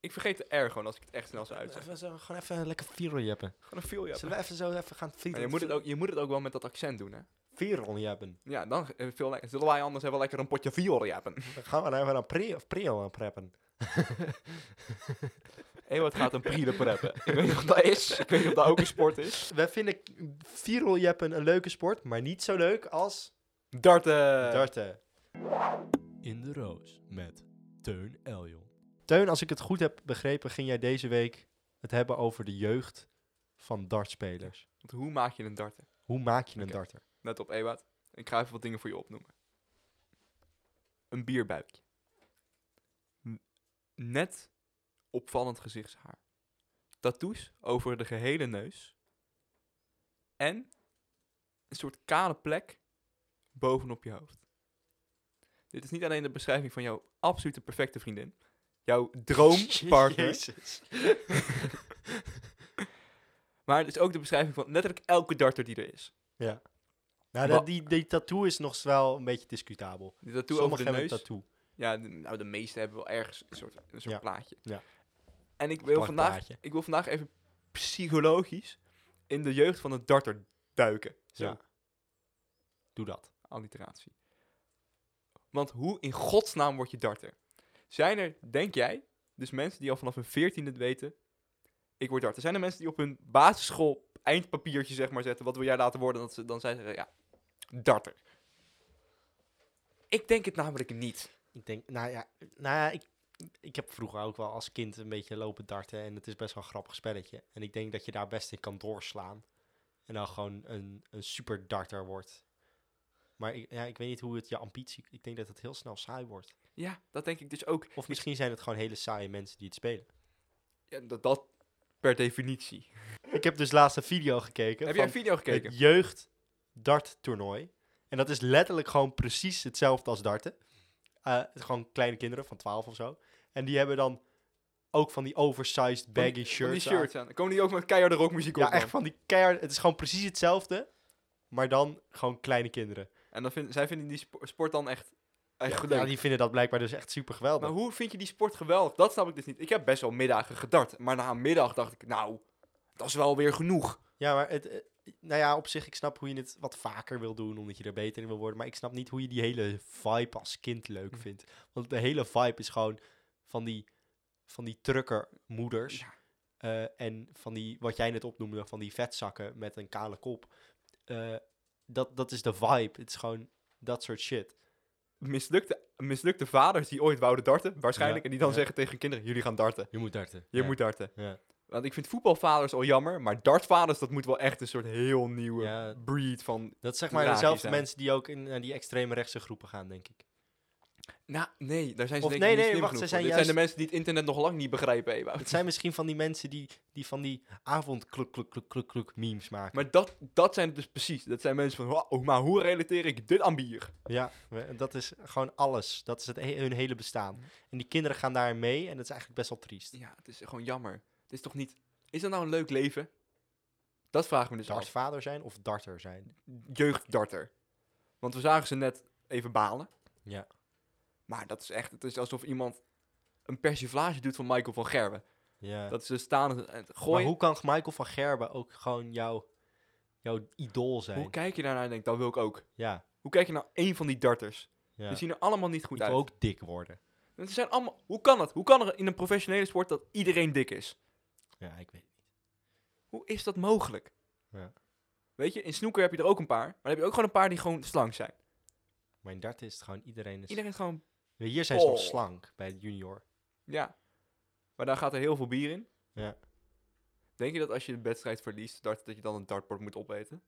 A: Ik vergeet de R gewoon als ik het echt snel zou uitspreken.
B: Even zo- gewoon even lekker vieroljeppen.
A: Gewoon een vieroljeppen.
B: Zullen we even zo even gaan
A: Maar
B: fiedel-
A: je, moet het ook, je moet het ook wel met dat accent doen, hè?
B: vieroljeppen?
A: Ja, dan eh, veel lekker. Zullen wij anders even lekker een potje vieroljeppen?
B: Dan gaan we nou even aan pre of preo aan preppen.
A: Hé, wat gaat een prielen preppen? ik weet niet of dat is. Ik weet niet of dat ook een sport is.
B: Wij vinden vieroljeppen een leuke sport, maar niet zo leuk als...
A: Darten!
B: Darten. In de roos met Teun Eljon. Teun, als ik het goed heb begrepen, ging jij deze week het hebben over de jeugd van dartspelers.
A: Want hoe maak je een darten?
B: Hoe maak je een
A: Oké.
B: darter?
A: Let op, Ewout. Ik ga even wat dingen voor je opnoemen. Een bierbuikje. N- Net opvallend gezichtshaar. Tattoos over de gehele neus. En een soort kale plek bovenop je hoofd. Dit is niet alleen de beschrijving van jouw absolute perfecte vriendin. Jouw droompartner.
B: Jezus.
A: maar het is ook de beschrijving van letterlijk elke darter die er is.
B: Nou,
A: Wa-
B: dat, die, die tattoo is nog wel een beetje discutabel.
A: Die tattoo
B: Sommigen
A: over de
B: hebben
A: neus.
B: een tattoo.
A: Ja, de, nou, de meeste hebben wel ergens een soort, een soort
B: Ja.
A: plaatje.
B: Ja.
A: En ik wil, vandaag,
B: Plakplaatje.
A: ik wil vandaag even psychologisch in de jeugd van de darter duiken. Zo,
B: Ja. Doe dat.
A: alliteratie. Want hoe in godsnaam word je darter? Zijn er, denk jij, dus mensen die al vanaf hun veertiende weten, ik word darter. Zijn er mensen die op hun basisschool eindpapiertje zeg maar zetten, wat wil jij laten worden? Dat ze, dan zij zeggen, ja, darter. Ik denk het namelijk niet.
B: Ik denk, nou ja, nou ja ik, ik heb vroeger ook wel als kind een beetje lopen darten. En het is best wel een grappig spelletje. En ik denk dat je daar best in kan doorslaan. En dan gewoon een, een super darter wordt. Maar ik, ja, ik weet niet hoe het je ambitie... Ik denk dat het heel snel saai wordt.
A: Ja, dat denk ik dus ook.
B: Of misschien zijn het gewoon hele saaie mensen die het spelen.
A: Ja, dat, dat per definitie.
B: Ik heb dus laatst een video gekeken.
A: Heb jij
B: van
A: een video gekeken?
B: Het jeugd dart toernooi. En dat is letterlijk gewoon precies hetzelfde als darten. Eh, het is gewoon kleine kinderen van 12 of zo. En die hebben dan ook van die oversized baggy shirts.
A: Van die
B: aan.
A: shirts aan. Komen die ook met keiharde rockmuziek op?
B: Ja,
A: man?
B: echt van die keihard. Het is gewoon precies hetzelfde. Maar dan gewoon kleine kinderen.
A: En dan vind, zij vinden die spo- sport dan echt, echt
B: Ja,
A: leuk.
B: die vinden dat blijkbaar dus echt super geweldig.
A: Maar hoe vind je die sport geweldig? Dat snap ik dus niet. Ik heb best wel middagen gedart. Maar na een middag dacht ik, nou, dat is wel weer genoeg.
B: Ja, maar het, eh, nou ja, op zich, ik snap hoe je het wat vaker wil doen, omdat je er beter in wil worden. Maar ik snap niet hoe je die hele vibe als kind leuk vindt. Want de hele vibe is gewoon van die, van die truckermoeders. eh, en van die, wat jij net opnoemde, van die vetzakken met een kale kop. Eh, dat, dat is de vibe. Het is gewoon dat soort shit.
A: Mislukte, mislukte vaders die ooit wouden darten, waarschijnlijk.
B: Ja,
A: en die dan
B: ja.
A: zeggen tegen hun kinderen, jullie gaan darten.
B: Je moet darten.
A: Je moet darten.
B: Ja.
A: Want ik vind voetbalvaders al jammer, maar dartvaders, dat moet wel echt een soort heel nieuwe
B: Ja.
A: breed van...
B: Dat is zeg maar
A: Tragisch
B: dezelfde
A: zijn.
B: mensen die ook in naar die extreme rechtse groepen gaan, denk ik.
A: Nou, nee, daar zijn ze
B: Of
A: denk
B: nee,
A: ik niet
B: nee,
A: slim genoeg
B: wacht, ze
A: voor.
B: zijn
A: Dit
B: juist-
A: zijn de mensen die het internet nog lang niet begrijpen, Ewout.
B: Het zijn misschien van die mensen die, die van die avond kluk, kluk, kluk, kluk, kluk memes maken.
A: Maar dat, dat zijn het dus precies. Dat zijn mensen van, "Wow, maar hoe relateer ik dit aan bier?
B: Ja, we- dat is gewoon alles. Dat is het he- hun hele bestaan. En die kinderen gaan daarin mee en dat is eigenlijk best wel triest.
A: Ja, het is gewoon jammer. Het is toch niet... Is dat nou een leuk leven? Dat vragen we dus af.
B: Dartvader zijn of darter zijn.
A: Jeugddarter. Want we zagen ze net even balen.
B: Ja.
A: Maar dat is echt, het is alsof iemand een persiflage doet van Michael van Gerwen.
B: Ja.
A: Dat is de staande en het
B: maar
A: gooien.
B: hoe kan Michael van Gerben ook gewoon jouw, jouw idool zijn?
A: Hoe kijk je daarnaar en denkt, dat wil ik ook.
B: ja.
A: Hoe kijk je naar één van die darters?
B: ja.
A: Die zien er allemaal niet goed
B: Ik
A: Dus uit.
B: wil ook dik worden.
A: Het zijn allemaal, hoe kan dat? Hoe kan er in een professionele sport dat iedereen dik is?
B: Ja, ik weet
A: Hoe is dat mogelijk?
B: Ja.
A: Weet je, in snoeker heb je er ook een paar. Maar dan heb je ook gewoon een paar die gewoon slank zijn.
B: Mijn dart is het gewoon iedereen is...
A: Iedereen is gewoon,
B: Hier zijn ze nog
A: Oh.
B: slank bij de junior.
A: ja. Maar daar gaat er heel veel bier in.
B: Ja.
A: Denk je dat als je een wedstrijd verliest, dart, dat je dan een dartbord moet opeten?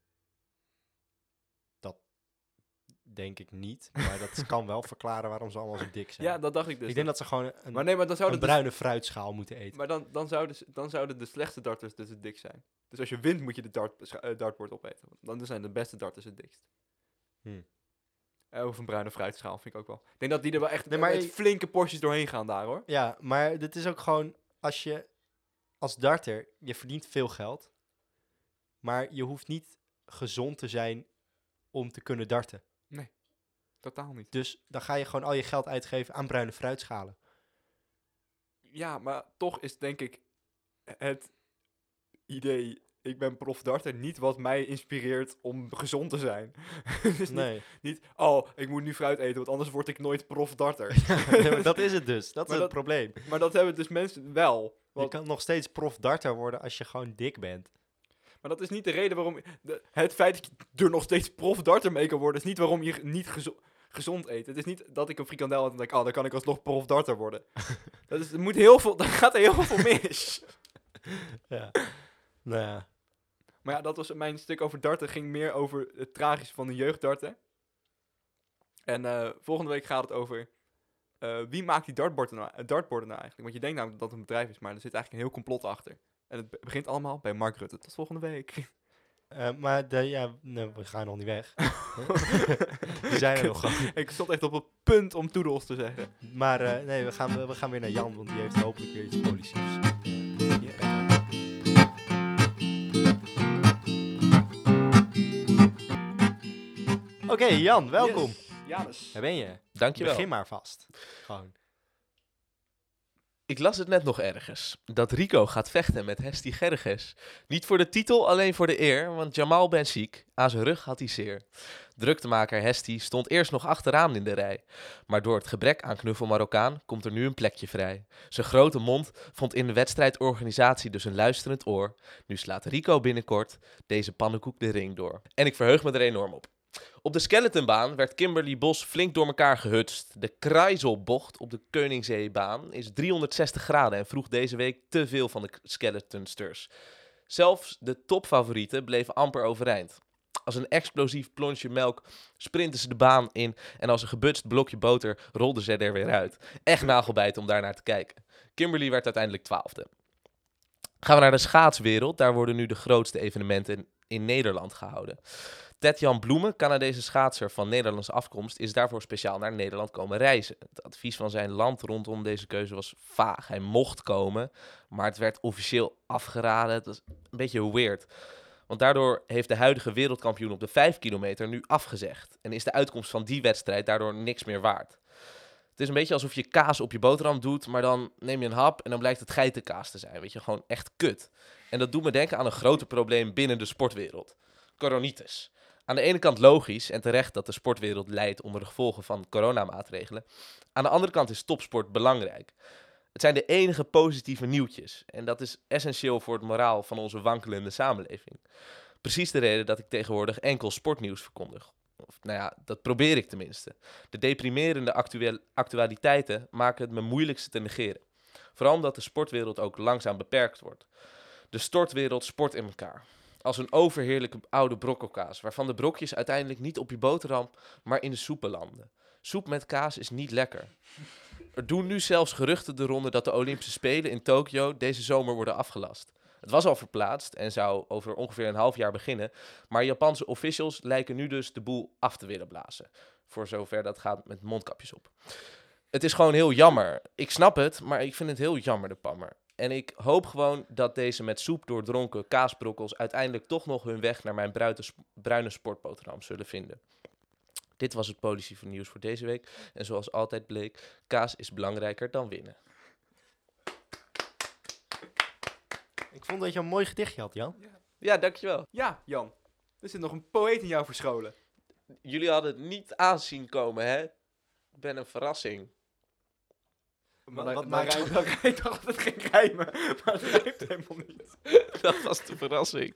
B: Denk ik niet. Maar dat kan wel verklaren waarom ze allemaal zo dik zijn.
A: Ja, dat dacht ik dus.
B: ik denk dat ze gewoon een,
A: maar nee, maar dan dus
B: een
A: zouden, de,
B: bruine fruitschaal moeten eten.
A: maar dan, dan, zouden, ze- dan zouden de slechtste darters dus het dik zijn. Dus als je wint, moet je de dart, scha- eh, dartbord opeten. Want Dan zijn de beste darters het dikst.
B: Hmm.
A: Eh, Of een bruine fruitschaal, vind ik ook wel. Ik denk dat die er wel echt
B: Nee, maar
A: met
B: je-
A: flinke porties doorheen gaan daar, hoor.
B: Ja, maar dit is ook gewoon als je als darter, je verdient veel geld, maar je hoeft niet gezond te zijn om te kunnen darten.
A: Totaal niet.
B: Dus dan ga je gewoon al je geld uitgeven aan bruine fruitschalen.
A: Ja, maar toch is denk ik het idee, ik ben prof darter, niet wat mij inspireert om gezond te zijn. Het is niet, niet, oh, ik moet nu fruit eten, want anders word ik nooit prof darter.
B: Nee, maar dat is het dus. Dat is
A: Maar
B: het
A: dat-
B: probleem.
A: maar dat hebben dus mensen wel.
B: Je
A: Want,
B: kan nog steeds prof darter worden als je gewoon dik bent.
A: maar dat is niet de reden waarom... de- het feit dat je er nog steeds prof darter mee kan worden, is niet waarom je ge- niet gezo- gezond eet. Het is niet dat ik een frikandel had en denk, oh, dan kan ik alsnog prof darter worden. dat is, er moet heel veel, daar gaat er heel veel mis.
B: Ja. Nou ja.
A: Maar ja, dat was mijn stuk over darten. Ging meer over het tragische van de jeugddarten. En eh, volgende week gaat het over eh, wie maakt die dartborden nou, eh, dartborden nou eigenlijk? Want je denkt namelijk dat het een bedrijf is, maar er zit eigenlijk een heel complot achter. En het be- begint allemaal bij Mark Rutte. Tot volgende week.
B: Eh, maar de, ja, nee, we gaan nog niet weg. we zijn er nog gewoon.
A: Ik stond echt op het punt om toedels te zeggen.
B: Maar eh, nee, we gaan, we gaan weer naar Jan, want die heeft hopelijk weer iets politieks. Oké, Jan, welkom.
A: Janus.
B: Daar ben je.
E: Dankjewel.
B: Begin maar vast. Gewoon.
E: Ik las het net nog ergens. Dat Rico gaat vechten met Hesti Gerges. Niet voor de titel, alleen voor de eer. Want Jamal ben ziek. Aan zijn rug had hij zeer. Druktemaker Hesti stond eerst nog achteraan in de rij. Maar door het gebrek aan knuffel Marokkaan komt er nu een plekje vrij. Zijn grote mond vond in de wedstrijdorganisatie dus een luisterend oor. Nu slaat Rico binnenkort deze pannenkoek de ring door. En ik verheug me er enorm op. Op de skeletonbaan werd Kimberly Bos flink door elkaar gehutst. De Kruiselbocht op de Koningszeebaan is 360 graden en vroeg deze week te veel van de k- skeletonsters. Zelfs de topfavorieten bleven amper overeind. Als een explosief plonsje melk sprinten ze de baan in en als een gebutst blokje boter rolden ze er weer uit. Echt nagelbijt om daarnaar te kijken. Kimberly werd uiteindelijk twaalfde. Gaan we naar de schaatswereld, daar worden nu de grootste evenementen in Nederland gehouden. Ted-Jan Bloemen, Canadese schaatser van Nederlandse afkomst, is daarvoor speciaal naar Nederland komen reizen. Het advies van zijn land rondom deze keuze was vaag. Hij mocht komen, maar het werd officieel afgeraden. Het was een beetje weird. Want daardoor heeft de huidige wereldkampioen op de 5 kilometer nu afgezegd. En is de uitkomst van die wedstrijd daardoor niks meer waard. Het is een beetje alsof je kaas op je boterham doet, maar dan neem je een hap en dan blijkt het geitenkaas te zijn. Weet je, gewoon echt kut. En dat doet me denken aan een groter probleem binnen de sportwereld. Coronitis. Aan de ene kant logisch en terecht dat de sportwereld lijdt onder de gevolgen van coronamaatregelen. Aan de andere kant is topsport belangrijk. Het zijn de enige positieve nieuwtjes en dat is essentieel voor het moraal van onze wankelende samenleving. Precies de reden dat ik tegenwoordig enkel sportnieuws verkondig. Of, nou ja, dat probeer ik tenminste. De deprimerende actueel- actualiteiten maken het me moeilijkste te negeren. Vooral omdat de sportwereld ook langzaam beperkt wordt. De stortwereld sport in elkaar als een overheerlijke oude brokkelkaas, waarvan de brokjes uiteindelijk niet op je boterham, maar in de soep belanden. Soep met kaas is niet lekker. Er doen nu zelfs geruchten de ronde dat de Olympische Spelen in Tokio deze zomer worden afgelast. Het was al verplaatst en zou over ongeveer een half jaar beginnen, maar Japanse officials lijken nu dus de boel af te willen blazen. Voor zover dat gaat met mondkapjes op. Het is gewoon heel jammer. Ik snap het, maar ik vind het heel jammer, de pammer. En ik hoop gewoon dat deze met soep doordronken kaasbrokkels uiteindelijk toch nog hun weg naar mijn bruite sp- bruine sportboterham zullen vinden. Dit was het politie voor nieuws voor deze week. En zoals altijd bleek, kaas is belangrijker dan winnen.
B: Ik vond dat je een mooi gedichtje had, Jan.
E: Ja, dankjewel.
A: Ja, Jan. Er zit nog een poëet in jou verscholen.
E: Jullie hadden het niet aanzien komen, hè? Ik ben een verrassing.
B: Wat-
A: hij-
B: wat
A: maar
B: maakt-
A: hij- maar hij dacht dat het ging rijmen, maar het rijmt helemaal niet.
E: Dat was de verrassing.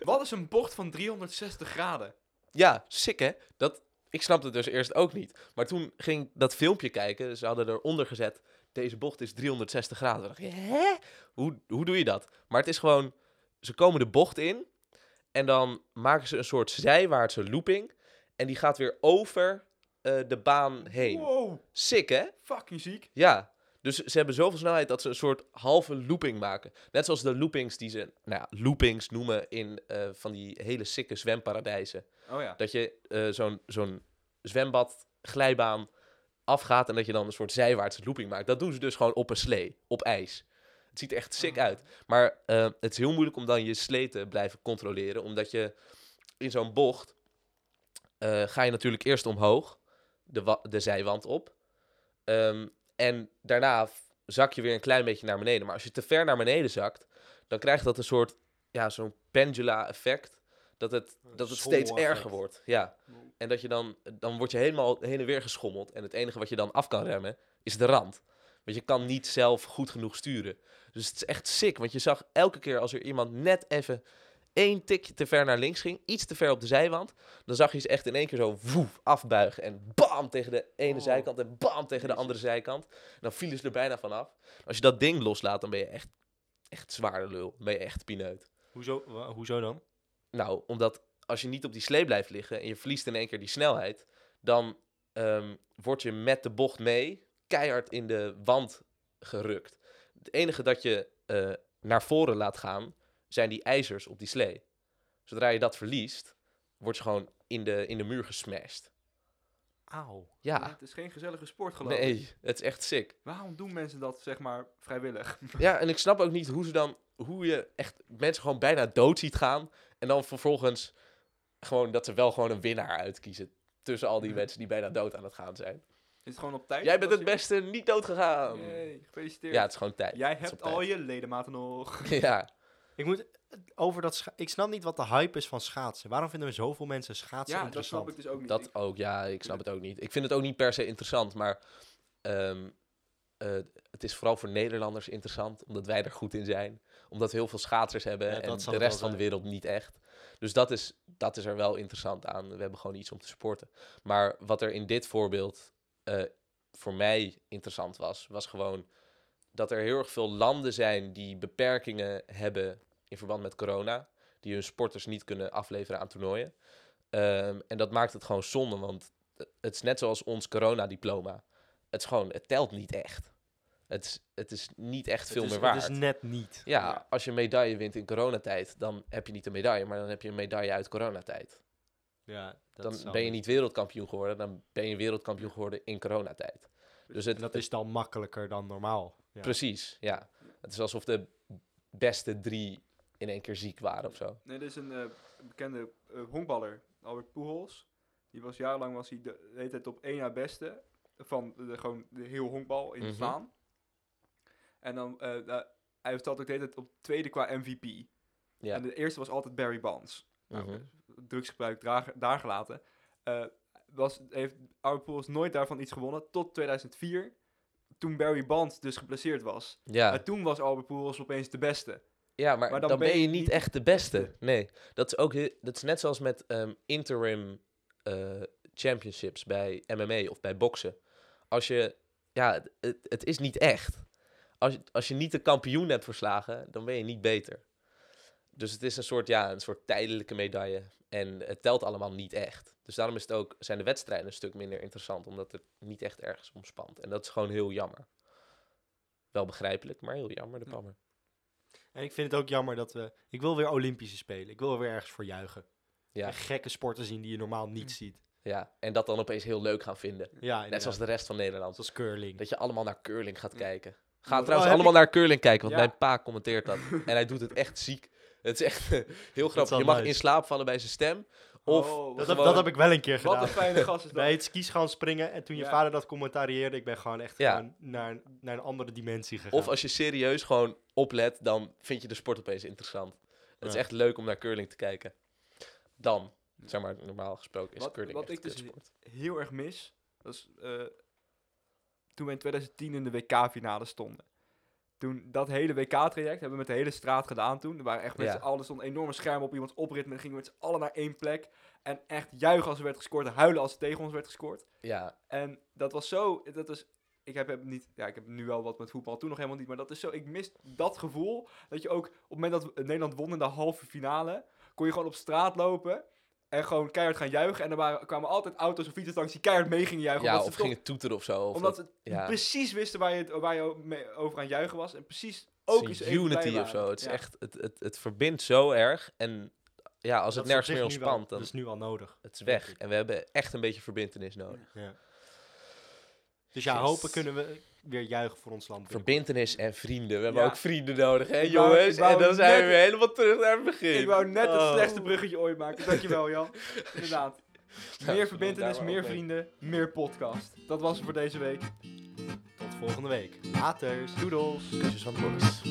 A: Wat is een bocht van 360 graden?
E: Ja, sick hè? Dat, ik snapte het dus eerst ook niet. Maar toen ging ik dat filmpje kijken. Ze hadden eronder gezet, deze bocht is 360 graden. Dan dacht ik, hè? Hoe, hoe doe je dat? Maar het is gewoon, ze komen de bocht in. En dan maken ze een soort zijwaartse looping. En die gaat weer over eh, de baan heen.
A: Wow,
E: Sick hè?
A: fucking ziek.
E: Ja. Dus ze hebben zoveel snelheid dat ze een soort halve looping maken. Net zoals de loopings die ze, nou ja, loopings noemen in eh, van die hele sikke zwemparadijzen.
A: Oh ja.
E: Dat je eh, zo'n zo'n zwembad, glijbaan afgaat en dat je dan een soort zijwaartse looping maakt. Dat doen ze dus gewoon op een slee, op ijs. Het ziet er echt sick uit. Maar eh, het is heel moeilijk om dan je slee te blijven controleren, omdat je in zo'n bocht eh, ga je natuurlijk eerst omhoog, de, wa- de zijwand op. Ehm, en daarna f- zak je weer een klein beetje naar beneden. Maar als je te ver naar beneden zakt, dan krijgt dat een soort, ja, zo'n pendula-effect. Dat het, dat het steeds
B: schommel-effect.
E: erger wordt. Ja. En dat je dan, dan word je helemaal heen en weer geschommeld. En het enige wat je dan af kan remmen, is de rand. Want je kan niet zelf goed genoeg sturen. Dus het is echt sick. Want je zag elke keer als er iemand net even één tikje te ver naar links ging, iets te ver op de zijwand, dan zag je ze echt in één keer zo woef, afbuigen. En bam tegen de ene
A: Oh.
E: zijkant en bam tegen de andere zijkant. En dan vielen ze er bijna vanaf. Als je dat ding loslaat, dan ben je echt, echt zwaar de lul. Dan ben je echt pineut.
B: Hoezo, wa- hoezo dan?
E: Nou, omdat als je niet op die slee blijft liggen en je verliest in één keer die snelheid, dan ehm, word je met de bocht mee keihard in de wand gerukt. Het enige dat je eh, naar voren laat gaan, zijn die ijzers op die slee. Zodra je dat verliest, word je gewoon in de, in de muur gesmashed.
B: Auw.
A: Ja,
E: Ja,
A: Het is geen gezellige sport geloof ik.
E: nee, het is echt sick.
A: Waarom doen mensen dat, zeg maar, vrijwillig?
E: Ja, en ik snap ook niet hoe ze dan, hoe je echt mensen gewoon bijna dood ziet gaan. En dan vervolgens gewoon dat ze wel gewoon een winnaar uitkiezen. Tussen al die mensen die bijna dood aan het gaan zijn.
A: Is het gewoon op tijd?
E: Jij bent
A: Dat
E: het
A: je-
E: beste niet dood gegaan.
A: Yay, gefeliciteerd.
E: Ja, het is gewoon tijd.
A: Jij
E: Het is
A: hebt
E: op tijd.
A: al je ledematen nog.
E: Ja,
B: Ik moet eh, over dat scha- Ik snap niet wat de hype is van schaatsen. Waarom vinden we zoveel mensen schaatsen
A: Ja, dat
B: interessant?
A: snap ik dus ook niet.
E: dat ook. Ja, ik snap het ook niet. Ik vind het ook niet per se interessant, maar ehm, eh, het is vooral voor Nederlanders interessant, omdat wij er goed in zijn. Omdat we heel veel schaatsers hebben
B: Ja,
E: en
B: dat zal
E: de
B: het wel
E: rest van de
B: zijn.
E: wereld niet echt. Dus dat is, dat is er wel interessant aan. We hebben gewoon iets om te sporten. Maar wat er in dit voorbeeld eh, voor mij interessant was, was gewoon dat er heel erg veel landen zijn die beperkingen hebben in verband met corona, die hun sporters niet kunnen afleveren aan toernooien. Ehm, en dat maakt het gewoon zonde, want het is net zoals ons corona-diploma. Het is gewoon, het telt niet echt. Het, is- het is niet echt veel
B: het is,
E: meer waard.
B: Het is net niet.
E: Ja, als je een medaille wint in coronatijd, dan heb je niet een medaille, maar dan heb je een medaille uit coronatijd.
B: Ja, dat
E: Dan
B: zou
E: ben je
B: ik-
E: niet wereldkampioen geworden, dan ben je wereldkampioen geworden in coronatijd. Dus het,
B: En dat is dan makkelijker dan normaal. Ja.
E: Precies, ja. Het is alsof de beste drie in één keer ziek waren of zo.
A: Nee, er is een eh, bekende eh, honkballer, Albert Pujols. Die was jarenlang was hij de, de hele tijd op één na beste van de, gewoon de heel honkbal in
E: Mhm.
A: het slaan. En dan, eh eh, hij stond ook de hele tijd op tweede qua MVP.
E: Ja.
A: En de eerste was altijd Barry Bonds. Nou,
E: Mhm.
A: eh, Drugsgebruik draag- daar gelaten. Eh, was, heeft Albert Pujols nooit daarvan iets gewonnen tot 2004. Toen Barry Bonds dus geblesseerd was.
E: Ja,
A: En toen was Albert Pujols opeens de beste.
E: ja maar, dan, ben je niet echt de beste.
A: beste.
E: Nee, dat is, ook, he- dat is net zoals met ehm, interim eh, championships bij MMA of bij boksen. Als je, ja, het- het, het is niet echt. Als, je- als je niet de kampioen hebt verslagen, dan ben je niet beter. Dus het is een soort, ja, een soort tijdelijke medaille. En het telt allemaal niet echt. Dus daarom is het ook, zijn de wedstrijden een stuk minder interessant, omdat het niet echt ergens omspant. En dat is gewoon heel jammer. Wel begrijpelijk, maar heel jammer, de
A: Ja.
E: pammer.
B: En ik vind het ook jammer dat we... Ik wil weer Olympische Spelen. Ik wil weer ergens voor juichen.
E: Ja.
B: En gekke sporten zien die je normaal niet ziet.
E: Ja, en dat dan opeens heel leuk gaan vinden.
B: Ja,
E: Net zoals de rest van Nederland.
B: Zoals curling.
E: Dat je allemaal naar curling gaat
A: Ja.
E: kijken.
B: Oh,
E: Ga trouwens
B: heb
E: allemaal naar curling kijken, want
B: Ja.
E: mijn pa commenteert dat. en hij doet het echt ziek. Het is echt heel
B: is
E: grappig.
B: wel
E: Je mag
B: nice.
E: in slaap vallen bij zijn stem. Of
A: Oh,
B: Dat,
A: wat
B: heb,
E: gewoon-
B: dat heb ik wel een keer
A: Wat
B: gedaan.
A: een fijne gast is dat.
B: Bij het gaan springen en toen je
A: Ja.
B: vader dat commentarieerde, ik ben gewoon echt
E: Ja.
B: gewoon naar, een- naar een andere dimensie gegaan.
E: Of als je serieus gewoon oplet, dan vind je de sport opeens interessant. Het is
B: Ja.
E: echt leuk om naar curling te kijken. Dan, zeg maar, normaal gesproken is
A: Wat-
E: curling
A: wat
E: echt
A: ik
E: een
A: dus-
E: kutsport.
A: heel erg mis. Dat is, eh, toen we in 2010 in de WK-finale stonden. Toen dat hele WK-traject hebben we met de hele straat gedaan toen. Er waren echt met
E: Ja.
A: z'n allen, er stond een enorme scherm op iemands oprit. En dan gingen we met z'n allen naar één plek. En echt juichen als er werd gescoord. En huilen als er tegen ons werd gescoord.
E: Ja,
A: En dat was zo, dat was... Ik heb, heb niet, ja, ik heb nu wel wat met voetbal, toen nog helemaal niet. Maar dat is zo, ik mis dat gevoel. Dat je ook, op het moment dat we- Nederland won in de halve finale... kon je gewoon op straat lopen en gewoon keihard gaan juichen. En er waren, kwamen altijd auto's of fietsers langs die keihard mee gingen juichen.
E: ja
A: omdat
E: of
A: ze toch-
E: ging het toeteren of zo. Of
A: omdat
E: dat-
A: ze
E: ja.
A: precies wisten waar je, waar je mee- over aan het juichen was. En precies
E: het
A: ook
E: is
A: eens
E: een
A: even bij
E: unity of
A: waren.
E: zo. Het, is
A: Ja.
E: echt, het, het, het verbindt zo erg. En ja, als het
B: Dat is
E: nergens
B: op zich nu
E: meer
B: wel-
E: ontspant, dan
A: Dus
B: Dat is nu al nodig.
E: het is weg. En we hebben echt een beetje verbindenis nodig.
B: Dus ja,
E: Yes.
B: hopen kunnen we weer juichen voor ons land. binnenkort.
E: Verbindenis en vrienden. We hebben
A: Ja.
E: ook vrienden nodig, hè
A: Ik wou-
E: jongens?
A: ik wou
E: en dan zijn we
A: net-
E: weer helemaal terug naar het begin.
A: Ik wou net
E: Oh.
A: het slechtste bruggetje ooit maken. Dankjewel, Jan. Inderdaad.
E: Nou,
A: Meer verbindenis,
E: daar
A: meer
E: ook mee.
A: vrienden, meer podcast. Dat was het voor deze week.
B: Tot volgende week. Laters.
A: Doedels.
E: Kusjes van Boris.